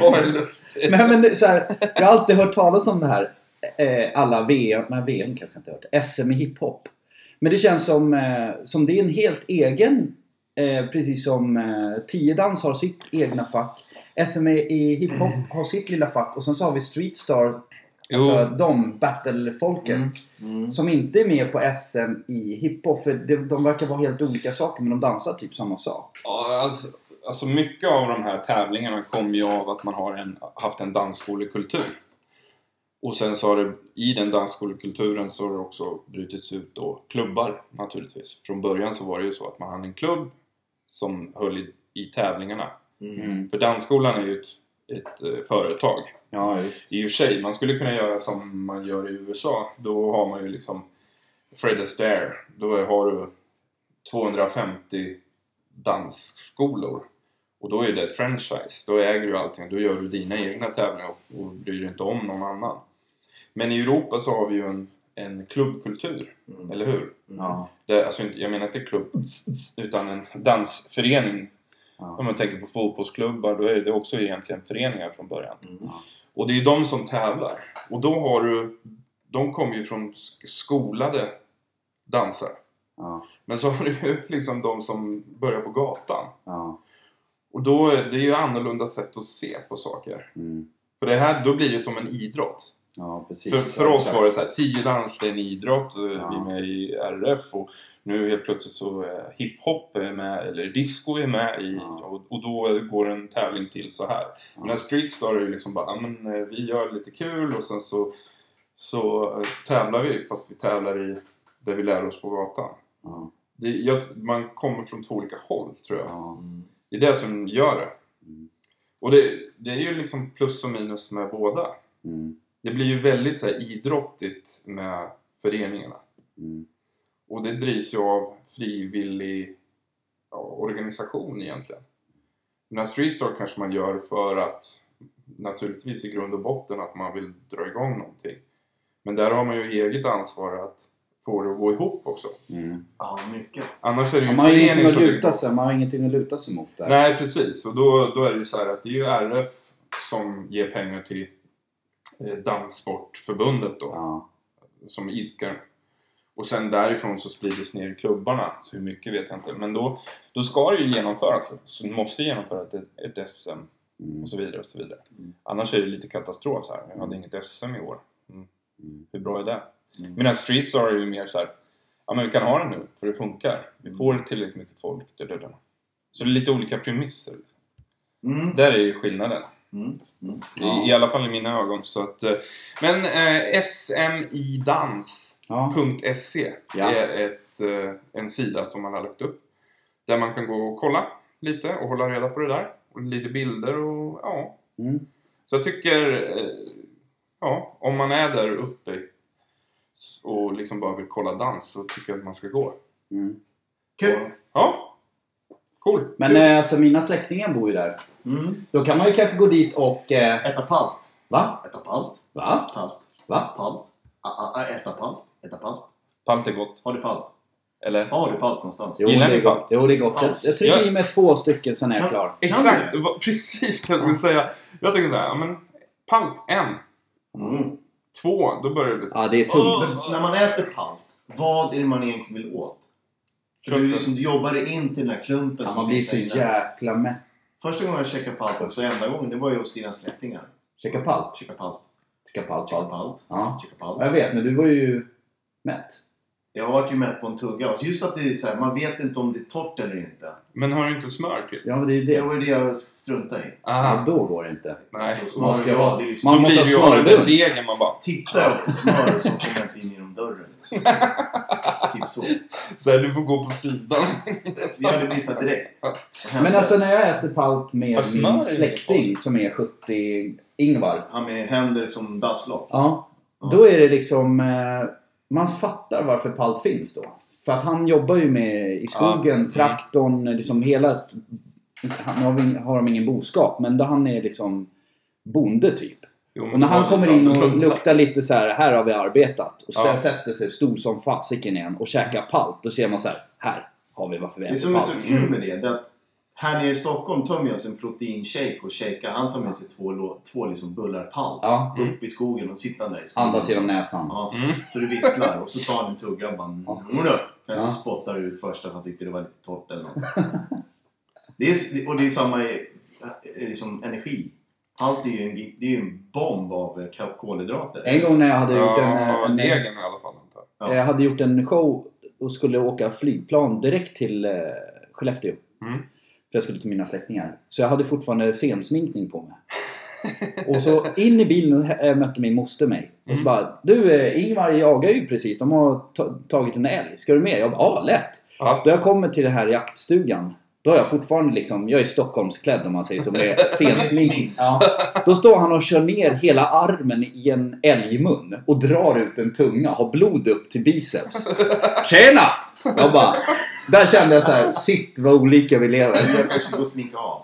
Speaker 1: Vad är lustigt?
Speaker 3: Nej, men det- så här, jag har alltid hört talas om det här. Eh, Alla VM, men VM kanske jag inte hört. SM i hiphop. Men det känns som, eh, som det är en helt egen, eh, precis som eh, tiodans har sitt egna fack. SM i- i hiphop har sitt lilla fack och sen så har vi Streetstar,
Speaker 1: Mm. Jo.
Speaker 3: alltså de battlefolken.
Speaker 1: Mm.
Speaker 2: Mm.
Speaker 3: Som inte är med på SM i hiphop. För de, de verkar vara helt olika saker men de dansar typ samma sak.
Speaker 1: Ja, alltså, alltså mycket av de här tävlingarna kommer ju av att man har en, haft en dansskolekultur. Och sen så har det, i den dansskolekulturen så har det också brutits ut då klubbar naturligtvis. Från början så var det ju så att man hade en klubb som höll i, i tävlingarna.
Speaker 2: Mm.
Speaker 1: För dansskolan är ju ett, ett eh, företag
Speaker 3: Ja, just.
Speaker 1: i och för sig. Man skulle kunna göra som man gör i USA. Då har man ju liksom Fred Astaire. Då har du 250 dansskolor. Och då är det ett franchise. Då äger du allting. Då gör du dina egna tävlingar och- och bryr dig inte om någon annan. Men i Europa så har vi ju en, en klubbkultur.
Speaker 2: Mm.
Speaker 1: Eller hur?
Speaker 3: Ja.
Speaker 1: Det, är- alltså, inte- jag menar inte klubb, utan en dansförening.
Speaker 3: Ja.
Speaker 1: Om man tänker på fotbollsklubbar, då är det också egentligen föreningar från början.
Speaker 2: Mm.
Speaker 1: Och det är ju de som tävlar. Och då har du... De kommer ju från sk- skolade dansare.
Speaker 3: Ja.
Speaker 1: Men så har du ju liksom de som börjar på gatan.
Speaker 3: Ja.
Speaker 1: Och då, är- det är ju annorlunda sätt att se på saker.
Speaker 3: Mm.
Speaker 1: För det här, då blir det som en idrott.
Speaker 3: ja, precis.
Speaker 1: För, för oss var det så här, tiodans det är en idrott, eh, vi är med i RF och nu helt plötsligt så är hiphop är med, eller disco är med i,
Speaker 3: Ja.
Speaker 1: och, och då går en tävling till så här. Men när Streetstar är ju liksom bara, "Ja, men eh, vi gör lite kul och sen så, så eh, tävlar vi fast vi tävlar i det vi lär oss på gatan.
Speaker 3: Ja.
Speaker 1: Det, jag, man kommer från två olika håll tror jag.
Speaker 3: Ja.
Speaker 2: Mm.
Speaker 1: Det är det som gör det.
Speaker 3: Mm.
Speaker 1: Och det, det är ju liksom plus och minus med båda.
Speaker 3: Mm.
Speaker 1: Det blir ju väldigt så här, idrottigt med föreningarna.
Speaker 3: Mm.
Speaker 1: Och det drivs ju av frivillig ja, organisation egentligen. Men Streetstar kanske man gör för att naturligtvis i grund och botten att man vill dra igång någonting. Men där har man ju eget ansvar att får det att gå ihop också.
Speaker 3: Mm.
Speaker 2: Ja, mycket.
Speaker 1: Annars är det ju
Speaker 3: Ja,
Speaker 1: en
Speaker 3: man, har
Speaker 1: förening
Speaker 3: ingenting att
Speaker 1: som bygger
Speaker 3: luta
Speaker 1: på.
Speaker 3: sig, man har ingenting att luta sig mot där.
Speaker 1: Nej, precis. Och då, då är det ju så här att det är ju RF som ger pengar till eh, Danssportförbundet då,
Speaker 3: Ja.
Speaker 1: som idkar. Och sen därifrån så sprids ner i klubbarna, så hur mycket vet jag inte. Men då, då ska det ju genomföras. Så du måste genomföra ett, ett SM
Speaker 3: Mm.
Speaker 1: och så vidare och så vidare.
Speaker 2: Mm.
Speaker 1: Annars är det lite katastrof så här. Jag hade inget SM i år.
Speaker 3: Mm.
Speaker 1: Hur bra är det?
Speaker 2: Mm.
Speaker 1: Medan Streets är ju mer så här. Ja men vi kan ha den nu, för det funkar. Vi får tillräckligt mycket folk. Det, det, det. Så det är lite olika premisser.
Speaker 2: Mm.
Speaker 1: Där är ju skillnaden.
Speaker 2: Mm. Mm.
Speaker 1: I, I alla fall i mina ögon. Så att, eh, men eh, smidans.se
Speaker 3: Ja. Ja.
Speaker 1: E är ett, eh, en sida som man har lagt upp. Där man kan gå och kolla lite och hålla reda på det där. Och lite bilder och ja.
Speaker 3: Mm.
Speaker 1: Så jag tycker, eh, ja, om man är där uppe och liksom bara vill kolla dans så tycker jag att man ska gå.
Speaker 3: Mm.
Speaker 2: Kul!
Speaker 1: Ja, cool.
Speaker 3: Men eh, alltså, mina släktingar bor ju där.
Speaker 2: Mm.
Speaker 3: Då kan man ju kanske gå dit och... Eh,
Speaker 2: Äta palt.
Speaker 3: va?
Speaker 2: Äta palt.
Speaker 3: Va?
Speaker 2: Palt.
Speaker 3: Va?
Speaker 2: Palt. A, a, a, äta palt. Äta palt.
Speaker 1: Palt är gott.
Speaker 2: Har du palt?
Speaker 1: Eller?
Speaker 2: Har du palt någonstans?
Speaker 3: Jo,
Speaker 1: Gillar
Speaker 3: det är
Speaker 1: ni
Speaker 3: gott.
Speaker 1: palt?
Speaker 3: Jo, det är gott. Jag, jag trycker
Speaker 1: Ja.
Speaker 3: i mig två stycken, sen är jag
Speaker 2: Kan-
Speaker 3: klar.
Speaker 1: Exakt!
Speaker 2: du?
Speaker 1: Det var precis det jag skulle säga. Jag tänkte såhär, ja men palt en,
Speaker 2: Mm.
Speaker 1: två, då börjar det bli...
Speaker 3: Ja, det är tungt.
Speaker 2: Men när man äter palt, vad är det man egentligen vill åt? För du,
Speaker 1: Klumpen.
Speaker 2: liksom, du jobbar dig in till den här klumpen
Speaker 3: Ja,
Speaker 2: som
Speaker 3: man blir
Speaker 2: finns
Speaker 3: så
Speaker 2: där inne.
Speaker 3: jäkla mätt.
Speaker 2: Första gången jag käkade palt, också enda gången, det var ju hos dina släktingar.
Speaker 3: Käka palt.
Speaker 2: Käka palt.
Speaker 3: Käka palt,
Speaker 2: Käka
Speaker 3: palt.
Speaker 2: palt.
Speaker 3: Ja.
Speaker 2: Käka
Speaker 3: Jag
Speaker 2: palt.
Speaker 3: vet, men du var ju mätt.
Speaker 2: Jag vart ju mätt på en tugga. Och just att det är så här, man vet inte om det är torrt eller inte.
Speaker 1: Men har du inte smör till?
Speaker 3: Ja, men det är ju
Speaker 2: Det
Speaker 3: det.
Speaker 2: var ju det jag struntade i.
Speaker 3: Ja,
Speaker 1: Aha.
Speaker 3: då går det inte.
Speaker 1: Nej.
Speaker 2: Alltså,
Speaker 3: Man
Speaker 2: smör,
Speaker 3: ska
Speaker 2: ja,
Speaker 3: vara-
Speaker 2: det är liksom,
Speaker 3: man
Speaker 1: Då
Speaker 3: måste
Speaker 1: blir
Speaker 3: ha
Speaker 1: det ju av den där
Speaker 3: smörgrund.
Speaker 1: degen man bara...
Speaker 2: tittar jag på smör så kommer jag inte in genom dörren. typ så.
Speaker 1: Såhär, du får gå på sidan.
Speaker 2: Vi hade missat direkt. Vad hände?
Speaker 3: Men alltså när jag äter palt med
Speaker 1: Fast smör är
Speaker 3: min
Speaker 1: ju
Speaker 3: släkting som är 70, Ingvar.
Speaker 2: Han med händer som dasslock.
Speaker 3: Ja.
Speaker 2: Ja.
Speaker 3: Då är det liksom... eh, Man fattar varför palt finns då. För att han jobbar ju med i skogen,
Speaker 1: Mm.
Speaker 3: traktorn, liksom hela... ett- Han har, vi- har de ingen boskap, men då han är liksom bonde typ.
Speaker 1: Jo, men
Speaker 3: Och när
Speaker 1: det
Speaker 3: han
Speaker 1: var
Speaker 3: kommer
Speaker 1: lite
Speaker 3: in och
Speaker 1: annorlunda.
Speaker 3: luktar lite så här, här har vi arbetat. Och sen
Speaker 1: Ja.
Speaker 3: sätter sig stor som fasiken igen och käkar palt. Då ser man så här, här har vi varför vi
Speaker 2: Det
Speaker 3: äter
Speaker 2: som är så
Speaker 3: palt.
Speaker 2: kul med det, det är att här nere i Stockholm tar med oss en proteinshake och shakar. Han tar med sig två, lå- två liksom bullar palt
Speaker 3: Ja,
Speaker 1: Mm.
Speaker 2: upp i skogen och sitter där i skogen.
Speaker 3: andas genom näsan.
Speaker 2: Ja,
Speaker 1: Mm.
Speaker 2: så det visslar och så tar han en tugga och bara
Speaker 3: Ja.
Speaker 2: mm, då. Kanske
Speaker 3: Ja.
Speaker 2: spottar ut första för han tyckte det var lite torrt eller något. det är, s- och det är samma eh, eh, liksom, energi. Allt är ju en, gi- det är ju en bomb av eh, ka- kolhydrater.
Speaker 3: En gång när jag hade gjort
Speaker 1: Ja,
Speaker 3: en, en,
Speaker 1: degen i alla fall. Antar. jag.
Speaker 2: Ja.
Speaker 3: jag Eh, hade gjort en show och skulle åka flygplan direkt till eh, Skellefteå.
Speaker 1: Mm.
Speaker 3: För jag skulle till mina släktingar. Så jag hade fortfarande sensminkning på mig. Och så in i bilen eh, mötte min moster mig. Och så
Speaker 1: Mm.
Speaker 3: bara, du eh, Ingvar jagar ju precis. De har ta- tagit en älg. Ska du med? Jag bara, ja lätt!
Speaker 1: Ja.
Speaker 3: Då jag kommer till den här jaktstugan. Då är jag fortfarande liksom, jag är Stockholmsklädd om man säger så. Med sensmink. Ja. Då står han och kör ner hela armen i en älgmun. Och drar ut en tunga. Har blod upp till biceps. Tjena! Jag bara, där kände jag så här, shit vad olika vi lever.
Speaker 2: Jag kanske går och sminka av.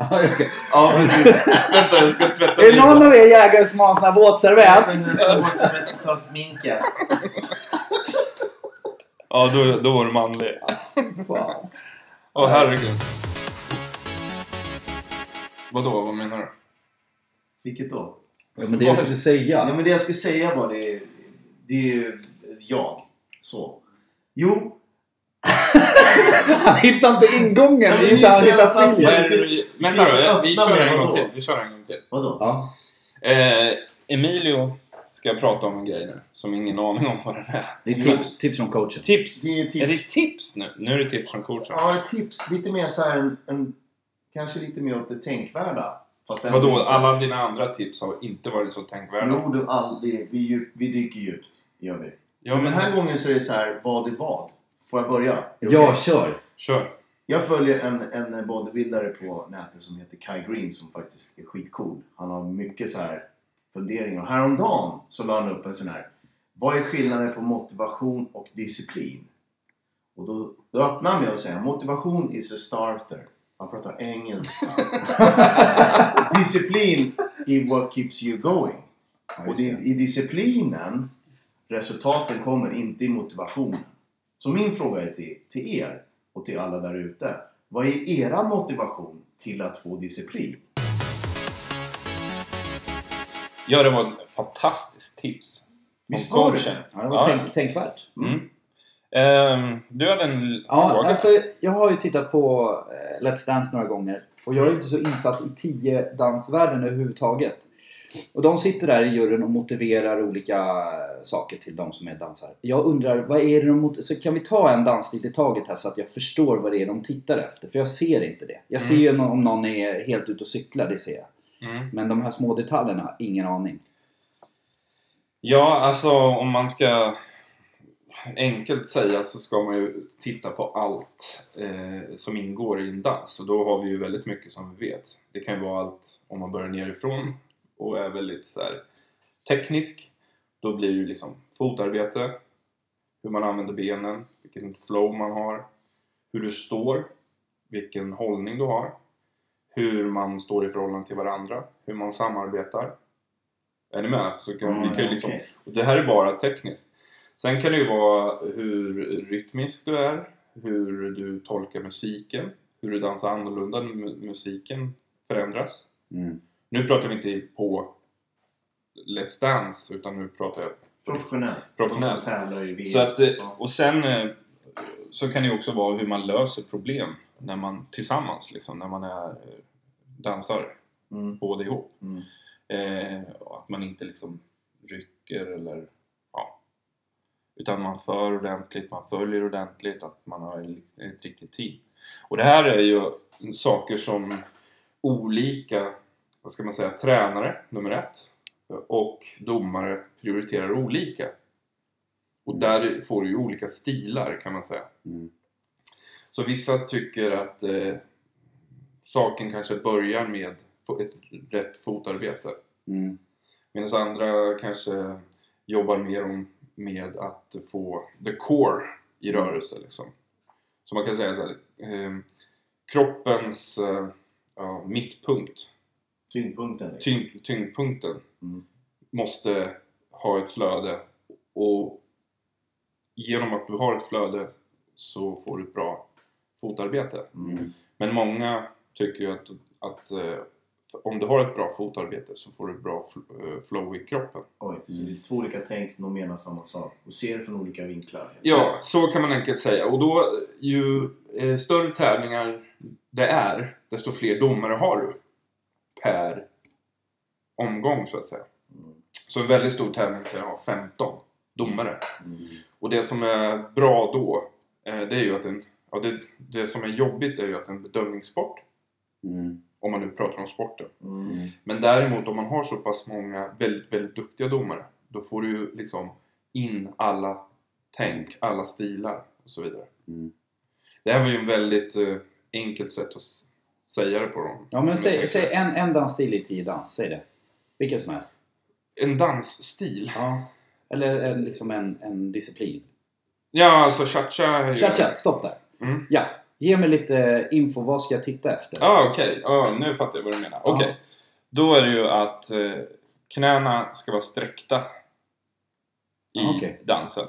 Speaker 1: ja, precis. Vänta, jag ska tvätta
Speaker 3: Är det någon
Speaker 1: bilen.
Speaker 3: av er jägare som har en sån här våtservett?
Speaker 2: För nästa år som ett tar sminket.
Speaker 1: Ja, då, då var du manlig. Åh, herregud. Vadå, vad menar du?
Speaker 2: Vilket då?
Speaker 3: Ja, men det jag skulle
Speaker 2: Ja,
Speaker 3: säga.
Speaker 2: men det jag skulle säga var det, det är ju jag. Så. Jo,
Speaker 3: Han hittar inte ingången.
Speaker 2: Ja, men
Speaker 3: Det är så
Speaker 2: det är
Speaker 3: han
Speaker 2: så jävla
Speaker 3: hittar
Speaker 1: Vad
Speaker 2: taskigt.
Speaker 3: till.
Speaker 1: är det vi... Vänta då, jag- vi kör en gång till. Vi kör en gång till.
Speaker 2: vadå?
Speaker 3: Ja.
Speaker 1: Eh, Emilio ska prata om en grej nu, som ingen aning om vad den är.
Speaker 3: Det är tips, tips från coachen.
Speaker 1: Tips!
Speaker 2: Det är tips.
Speaker 1: Är det tips nu? Nu är det tips från coachen.
Speaker 2: Ja, ett tips. Lite mer så här en, en kanske lite mer åt det tänkvärda. Fast ändå
Speaker 1: Vadå,
Speaker 2: inte.
Speaker 1: alla dina andra tips har inte varit så tänkvärda?
Speaker 2: Jo, du, all, det, vi, djup- vi dyker djupt. Gör vi.
Speaker 1: Ja,
Speaker 2: Men den
Speaker 1: men
Speaker 2: här gången så är det så här, vad är vad? Får jag börja? Är det
Speaker 3: Jag
Speaker 2: okej?
Speaker 3: kör.
Speaker 1: kör.
Speaker 2: Jag följer en, en bodybuildare på nätet som heter Kai Green som faktiskt är skitcool. Han har mycket så här funderingar. Och Häromdagen så la han upp en sån här. Vad är skillnaden på motivation och disciplin? Och då, då öppnar han med att säga motivation is a starter. Han pratar engelska. disciplin is what keeps you going. Och det, i disciplinen Resultaten kommer inte i motivationen. Så min fråga är till, till er och till alla där ute. Vad är era motivation till att få disciplin?
Speaker 1: Ja, det var ett fantastiskt tips.
Speaker 2: Visst
Speaker 1: Om
Speaker 2: var det?
Speaker 1: coachen.
Speaker 3: Ja, det var
Speaker 1: Ja.
Speaker 3: tänk, tänkvärt.
Speaker 1: Mm. Ehm, du hade en
Speaker 3: Ja,
Speaker 1: fråga.
Speaker 3: alltså, jag har ju tittat på eh, Let's Dance några gånger och
Speaker 1: Mm.
Speaker 3: jag är inte så insatt i tio dansvärlden överhuvudtaget. Och de sitter där i juryn och motiverar olika eh, saker till de som är dansare. Jag undrar, vad är det de mot- så kan vi ta en dansstil i taget här så att jag förstår vad det är de tittar efter? För jag ser inte det. Jag ser ju om någon är helt ute och cyklar, det ser jag.
Speaker 1: Mm.
Speaker 3: Men de här små detaljerna, ingen aning.
Speaker 1: Ja, alltså om man ska enkelt säga så ska man ju titta på allt eh, som ingår i en dans och då har vi ju väldigt mycket som vi vet. Det kan ju vara allt om man börjar nerifrån och är väldigt så här, teknisk. Då blir det ju liksom fotarbete, hur man använder benen, vilken flow man har, hur du står, vilken hållning du har, hur man står i förhållande till varandra, hur man samarbetar. Är ni med? Så kan, vi kan ju liksom
Speaker 2: Ah, okej.
Speaker 1: och det här är bara tekniskt. Sen kan det ju vara hur rytmisk du är, hur du tolkar musiken, hur du dansar annorlunda när mu- musiken förändras.
Speaker 3: Mm.
Speaker 1: Nu pratar vi inte på Let's Dance, utan nu pratar jag...
Speaker 2: Professionellt.
Speaker 1: Professionellt.
Speaker 2: De som tävlar i VM.
Speaker 1: Så att, eh,
Speaker 2: Ja.
Speaker 1: och sen eh, så kan det ju också vara hur man löser problem när man tillsammans, liksom, när man är eh, dansar
Speaker 2: Mm,
Speaker 1: båda ihop.
Speaker 2: mm.
Speaker 1: Eh, och att man inte liksom rycker eller ja. Utan man för ordentligt, man följer ordentligt, att man har ett- ett riktigt team. Och det här är ju saker som olika, vad ska man säga, tränare, nummer ett, och domare prioriterar olika. Och där får du ju olika stilar kan man säga.
Speaker 3: Mm.
Speaker 1: Så vissa tycker att eh, saken kanske börjar med fo- ett rätt fotarbete.
Speaker 3: Mm.
Speaker 1: Medan andra kanske jobbar mer om, med att få the core i rörelse. Liksom. Så man kan säga så här, eh, kroppens eh, ja, mittpunkt,
Speaker 2: Tyngdpunkten. liksom.
Speaker 1: tyng, tyngdpunkten,
Speaker 2: Mm.
Speaker 1: måste ha ett flöde. Och genom att du har ett flöde så får du ett bra fotarbete.
Speaker 2: Mm.
Speaker 1: Men många tycker ju att, att eh, om du har ett bra fotarbete så får du ett bra fl- eh, flow i kroppen.
Speaker 2: Oj, så det är två olika tänk, de menar samma sak. Och ser det från olika vinklar.
Speaker 1: Ja, så kan man enkelt säga. Och då, ju eh, större tävlingar det är, desto fler domare har du. Per omgång, så att säga. Så en väldigt stor tävling kan ha 15 domare.
Speaker 2: Mm.
Speaker 1: Och det som är bra då, eh, det är ju att en... Ja, det, det som är jobbigt är ju att en bedömningssport,
Speaker 3: Mm.
Speaker 1: om man nu pratar om sporten.
Speaker 2: Mm.
Speaker 1: Men däremot om man har så pass många väldigt, väldigt duktiga domare, då får du ju liksom in alla tänk, alla stilar och så vidare.
Speaker 3: Mm.
Speaker 1: Det här var ju en väldigt eh, enkelt sätt att s- säga det på dem.
Speaker 3: Ja men säg, säg en, en dansstil i tio dans, säg det. Vilken som helst.
Speaker 1: En dansstil.
Speaker 3: Ja. Eller en, liksom en, en disciplin.
Speaker 1: Ja, alltså cha-cha är ju...
Speaker 3: Tja, tja, stopp där.
Speaker 1: Mm.
Speaker 3: Ja, ge mig lite info. Vad ska jag titta efter?
Speaker 1: Ja, ah, okej. Ja, nu fattar jag vad du menar. Okej.
Speaker 3: Ja.
Speaker 1: Då är det ju att eh, knäna ska vara sträckta i
Speaker 3: Ja, okej.
Speaker 1: dansen.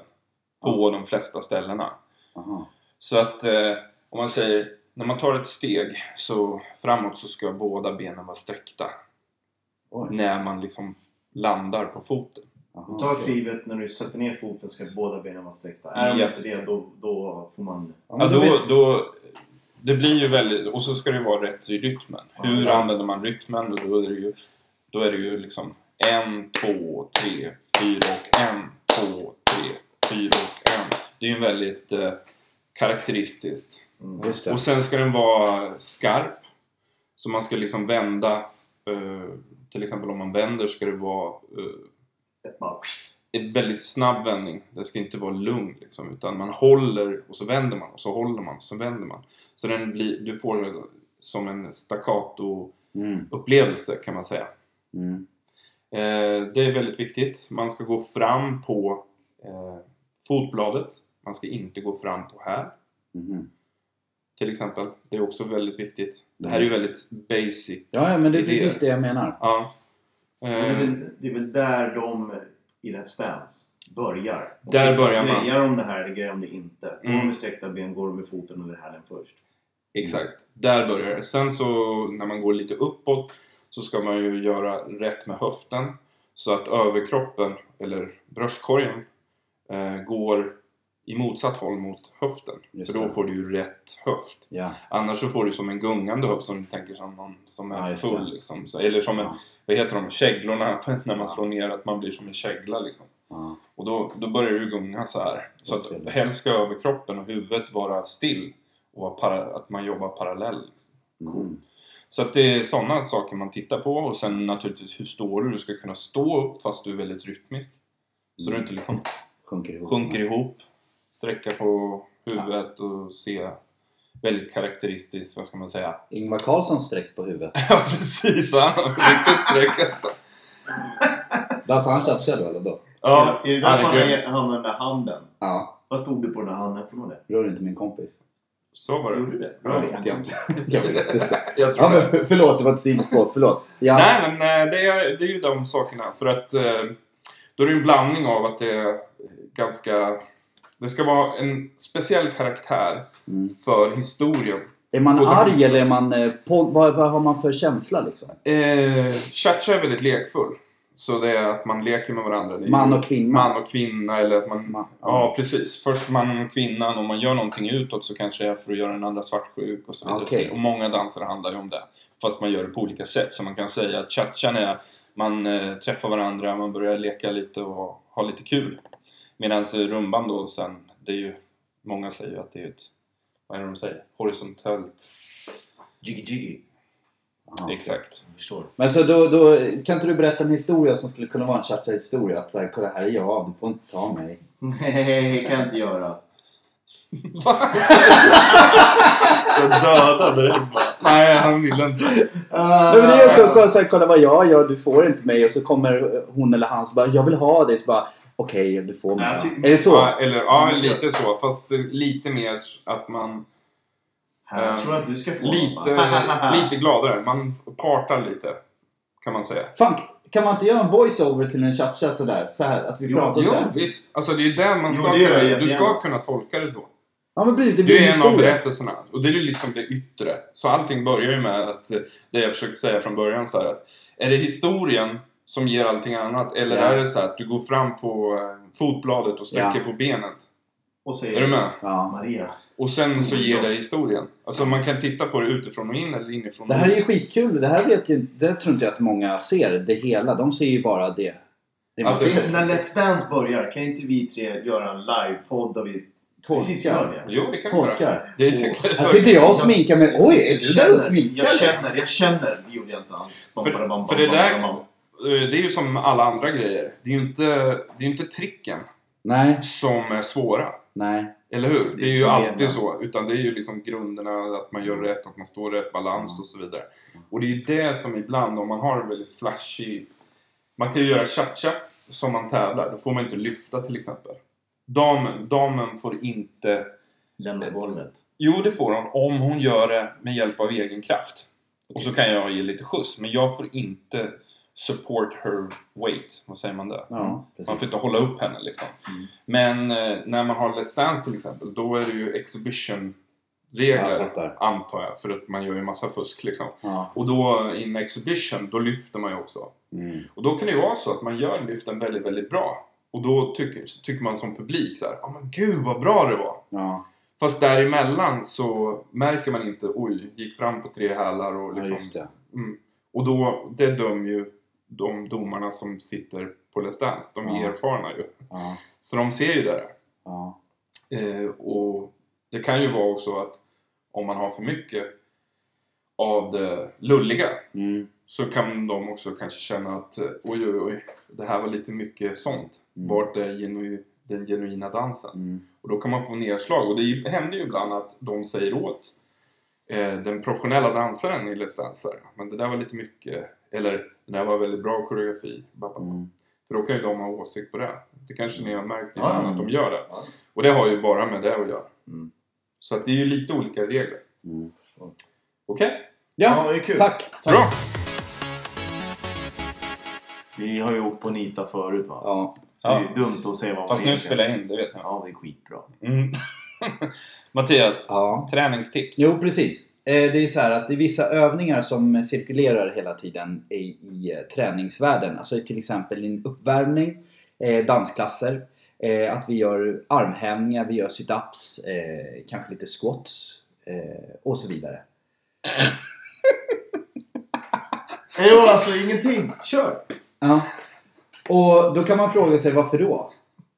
Speaker 1: På de flesta ställena.
Speaker 3: Aha.
Speaker 1: Så att eh, om man säger, när man tar ett steg så framåt så ska båda benen vara sträckta.
Speaker 3: Oj.
Speaker 1: När man liksom landar på foten.
Speaker 3: Aha,
Speaker 2: Ta
Speaker 3: okej.
Speaker 2: klivet när du sätter ner foten ska båda benen vara sträckta. Är de
Speaker 1: Yes.
Speaker 2: inte det då, då får man...
Speaker 1: Ja,
Speaker 3: Ja, men då
Speaker 1: då,
Speaker 3: vet-
Speaker 1: då, det blir ju väldigt, och så ska det vara rätt i rytmen. Hur
Speaker 2: Ja.
Speaker 1: använder man rytmen? Och Då är det ju, då är det ju liksom en, två, tre, fyra och en, två, tre, fyra och en. Det är ju en väldigt eh, karaktäristiskt.
Speaker 2: Mm.
Speaker 3: Just det.
Speaker 1: Och sen ska den vara skarp. Så man ska liksom vända, eh, till exempel om man vänder ska det vara eh,
Speaker 2: Ett bara...
Speaker 1: en väldigt snabb vändning. Det ska inte vara lugn liksom, utan man håller och så vänder man och så håller man och så vänder man. Så den blir, du får det som en staccato-upplevelse
Speaker 3: Mm,
Speaker 1: kan man säga.
Speaker 3: mm,
Speaker 1: Eh, det är väldigt viktigt. Man ska gå fram på eh, fotbladet. Man ska inte gå fram på här
Speaker 3: mhm.
Speaker 1: till exempel. Det är också väldigt viktigt. Det här är ju
Speaker 3: Mm.
Speaker 1: väldigt basic.
Speaker 3: Ja, ja, men det är
Speaker 1: Idéer.
Speaker 3: precis det jag menar.
Speaker 1: Ja.
Speaker 2: Men Det, är
Speaker 1: Eh,
Speaker 2: väl, det är väl där de i Let's Dance börjar. Och
Speaker 1: Där
Speaker 2: så
Speaker 1: börjar man.
Speaker 2: Grejar om det här eller grejar om det inte. Går de
Speaker 1: Mm.
Speaker 2: med sträckta ben, går de med foten eller hälen först.
Speaker 1: Exakt. Där börjar det. Sen så när man går lite uppåt så ska man ju göra rätt med höften. Så att överkroppen, eller bröstkorgen, eh, går i motsatt håll mot höften.
Speaker 3: Just
Speaker 1: För då
Speaker 3: det.
Speaker 1: får du ju rätt höft.
Speaker 3: Ja,
Speaker 1: Annars så får du som en gungande höft som du tänker som någon som
Speaker 3: Ja,
Speaker 1: är
Speaker 3: just det.
Speaker 1: full liksom. Så, eller som en,
Speaker 3: Ja.
Speaker 1: vad heter de, käglorna när
Speaker 3: Ja.
Speaker 1: man slår ner, att man blir som en kägla liksom.
Speaker 3: ja,
Speaker 1: Och då, då börjar du gunga så här. Så
Speaker 3: Just
Speaker 1: att
Speaker 3: det.
Speaker 1: helst ska överkroppen och huvudet vara still. Och vara para, att man jobbar parallell. Liksom.
Speaker 3: mm.
Speaker 1: Så att det är sådana saker man tittar på. Och sen naturligtvis hur står du? Du ska kunna stå upp fast du är väldigt rytmisk. Så du inte liksom
Speaker 3: sjunker ihop.
Speaker 1: sjunker ihop, sträcka på huvudet och se väldigt karaktäristiskt, vad ska man säga,
Speaker 3: Ingvar Carlsson sträckt på huvudet.
Speaker 1: Ja precis, han har riktigt sträck alltså.
Speaker 3: Dansade han Chapsell eller då?
Speaker 1: Ja,
Speaker 2: Är det därför
Speaker 1: han är grym.
Speaker 2: han använder handen?
Speaker 3: Ja,
Speaker 2: Vad stod det på den här handen? Kommer du ihåg
Speaker 3: rör inte min kompis.
Speaker 1: Så var
Speaker 2: det?
Speaker 1: det.
Speaker 2: Gjorde det?
Speaker 1: Jag vet jag inte.
Speaker 3: Jag vet inte.
Speaker 1: Jag tror
Speaker 3: Ja,
Speaker 1: det.
Speaker 3: men förlåt, det var ett sidospår. Förlåt. Ja.
Speaker 1: Nej men eh, det är, det är ju de sakerna för att eh, då är det en blandning av att det är ganska... Det ska vara en speciell karaktär
Speaker 3: Mm.
Speaker 1: för historien.
Speaker 3: Är man
Speaker 1: Och
Speaker 3: arg
Speaker 1: dans.
Speaker 3: eller är man... eh, På, vad, vad har man för känsla liksom?
Speaker 1: Eh, Cha-cha är väldigt lekfull. Så det är att man leker med varandra. Det är ju
Speaker 3: Man och kvinna.
Speaker 1: Man och kvinna eller att man...
Speaker 3: Man-
Speaker 1: Ja, precis. Först mannen och kvinnan. Om man gör någonting utåt så kanske det är för att göra den andra svartsjuk och så vidare.
Speaker 3: Okej.
Speaker 1: Och många danser handlar ju om det. Fast man gör det på olika sätt. Så man kan säga att cha-chan är... Man eh, träffar varandra, man börjar leka lite och ha, ha lite kul. Medan rumban då sen, det är ju... Många säger ju att det är ett... Vad är det de säger? Horisontellt.
Speaker 2: Jiggy jiggy.
Speaker 3: Ja.
Speaker 1: Exakt.
Speaker 2: Jag förstår.
Speaker 3: Men så då, då, kan inte du berätta en historia som skulle kunna vara en Chapsell-historia? Att såhär, kolla här är jag, du får inte ta mig.
Speaker 2: Nej, kan jag inte göra.
Speaker 1: Va? Jag dödade dig bara. Nej, han ville inte.
Speaker 2: Ah.
Speaker 3: Nej, men det är så, kolla, så här, kolla vad jag gör, du får inte mig. Och så kommer hon eller han och bara, jag vill ha dig. Så bara, okej, du får mig.
Speaker 2: Nej, jag tycker-
Speaker 3: Är det så?
Speaker 1: Ja, eller, ja, lite så. Fast eh, lite mer att man...
Speaker 2: Här, jag tror att du ska få
Speaker 1: Lite, lite gladare. Man partar lite, kan man säga.
Speaker 3: Fan, kan man inte göra en voice-over till en cha-cha sådär? Så här, att vi
Speaker 2: Jo,
Speaker 3: pratar
Speaker 1: Jo,
Speaker 3: så här.
Speaker 1: visst. Alltså, det är där man
Speaker 2: Jo,
Speaker 1: ska
Speaker 2: det gör jag
Speaker 1: kunna, Du
Speaker 2: jättegärna.
Speaker 1: ska kunna tolka det så.
Speaker 3: Ja, men precis. Det blir
Speaker 1: Det
Speaker 3: en
Speaker 1: är en av
Speaker 3: historia.
Speaker 1: berättelserna. Och det är ju liksom det yttre. Så allting börjar ju med att eh, det jag försökte säga från början så här att är det historien som ger allting annat eller
Speaker 3: Ja.
Speaker 1: är det så här att du går fram på eh, fotbladet och sträcker på benet?
Speaker 2: Och säger
Speaker 1: Är du med?
Speaker 3: Ja.
Speaker 2: Maria.
Speaker 1: Och sen så ger
Speaker 2: Ja.
Speaker 1: det historien. Alltså man kan titta på det utifrån och in eller inifrån
Speaker 3: Det
Speaker 1: och
Speaker 3: här är ju
Speaker 1: ut.
Speaker 3: skitkul. Det här vet ju, det tror inte jag att många ser. Det hela. De ser ju bara det. Det man
Speaker 1: Alltså,
Speaker 3: ser.
Speaker 2: När Let's Dance börjar, kan inte vi tre göra en livepodd där vi precis gör det?
Speaker 1: Jo, det kan vi göra.
Speaker 3: Torkar.
Speaker 1: Det tycker
Speaker 3: Här
Speaker 1: jag.
Speaker 3: sitter jag och sminkar mig.
Speaker 2: Jag
Speaker 3: Oj,
Speaker 2: sitter-
Speaker 3: är du där och sminkar
Speaker 2: Jag
Speaker 3: dig?
Speaker 2: känner, jag känner. Det gjorde jag inte alls. Bam, bam, bam,
Speaker 1: För, för det
Speaker 2: bam,
Speaker 1: där,
Speaker 2: bam, bam.
Speaker 1: eh, det är ju som alla andra grejer. Det är ju inte, det är ju inte tricken
Speaker 3: Nej,
Speaker 1: som är svåra.
Speaker 3: nej.
Speaker 1: Eller hur?
Speaker 2: Det
Speaker 1: Det är
Speaker 2: är
Speaker 1: ju
Speaker 2: så
Speaker 1: alltid
Speaker 2: jävla-
Speaker 1: så. Utan det är ju liksom grunderna, att man gör
Speaker 2: Mm.
Speaker 1: rätt, att man står i rätt balans och så vidare. Och det är ju det som ibland, om man har en väldigt flashig... Man kan ju göra cha-cha som man tävlar. Då får man inte lyfta till exempel. Damen, damen får inte...
Speaker 2: Lämna golvet.
Speaker 1: Jo, det får hon om hon gör det med hjälp av egen kraft. Och så kan jag ge lite skjuts. Men jag får inte support her weight. Vad säger man där?
Speaker 3: Ja,
Speaker 1: Mm. Man får
Speaker 3: precis.
Speaker 1: inte hålla upp henne liksom.
Speaker 2: Mm.
Speaker 1: Men eh, när man har Let's Dance till exempel, då är det ju
Speaker 3: Ja, jag
Speaker 1: exhibition-regler,
Speaker 3: fattar.
Speaker 1: antar jag. För att man gör ju massa fusk liksom.
Speaker 3: Ja.
Speaker 1: Och då, in exhibition, då lyfter man ju också.
Speaker 3: Mm.
Speaker 1: Och då kan det ju vara så att man gör lyften väldigt, väldigt bra. Och då tycker, så tycker man som publik där, ja men gud vad bra det var!
Speaker 3: Ja,
Speaker 1: Fast däremellan så märker man inte, oj, gick fram på tre hälar och
Speaker 3: ja,
Speaker 1: liksom...
Speaker 3: just det.
Speaker 1: Mm. Och då, det dömer ju de domarna som sitter på Let's Dance. De är
Speaker 3: Ja.
Speaker 1: erfarna ju.
Speaker 3: Ja,
Speaker 1: Så de ser ju det där.
Speaker 3: ja.
Speaker 1: Eh, och det kan ju vara också att om man har för mycket av det lulliga
Speaker 3: Mm.
Speaker 1: så kan de också kanske känna att eh, oj, oj, oj, det här var lite mycket sånt.
Speaker 3: Mm.
Speaker 1: Vart är genu- den genuina dansen?
Speaker 3: Mm.
Speaker 1: Och då kan man få nedslag. Och det är ju- händer ju ibland att de säger åt eh, den professionella dansaren i Let's Dance här, men det där var lite mycket. Eller det där var väldigt bra koreografi. Ba, ba, ba.
Speaker 3: Mm.
Speaker 1: För då kan ju de ha åsikt på det. Det kanske ni har märkt
Speaker 2: Ja,
Speaker 1: innan
Speaker 2: ja.
Speaker 1: att de gör det.
Speaker 2: Ja.
Speaker 1: Och det har ju bara med det att göra.
Speaker 2: Mm.
Speaker 1: Så att det är ju lite olika regler.
Speaker 3: Mm.
Speaker 1: Okej?
Speaker 3: Ja,
Speaker 2: det är kul.
Speaker 3: tack. tack.
Speaker 1: Bra!
Speaker 2: Vi har ju åkt på Nita förut va?
Speaker 3: Ja,
Speaker 2: Så
Speaker 1: Ja.
Speaker 2: det är ju dumt att säga vad
Speaker 1: Fast
Speaker 2: man
Speaker 1: nu
Speaker 2: egentligen-
Speaker 1: spelar jag in, det vet ni.
Speaker 2: Ja, det är skitbra.
Speaker 1: Mm. Mattias,
Speaker 3: Ja.
Speaker 1: träningstips?
Speaker 3: Jo, precis. Eh, Det är så här att det är vissa övningar som cirkulerar hela tiden i, i eh, träningsvärlden. Alltså till exempel en uppvärmning, eh, dansklasser, eh, att vi gör armhävningar, vi gör situps, eh, kanske lite squats eh, och så vidare.
Speaker 2: Jo, alltså ingenting. Kör!
Speaker 3: Ja. Och då kan man fråga sig varför då?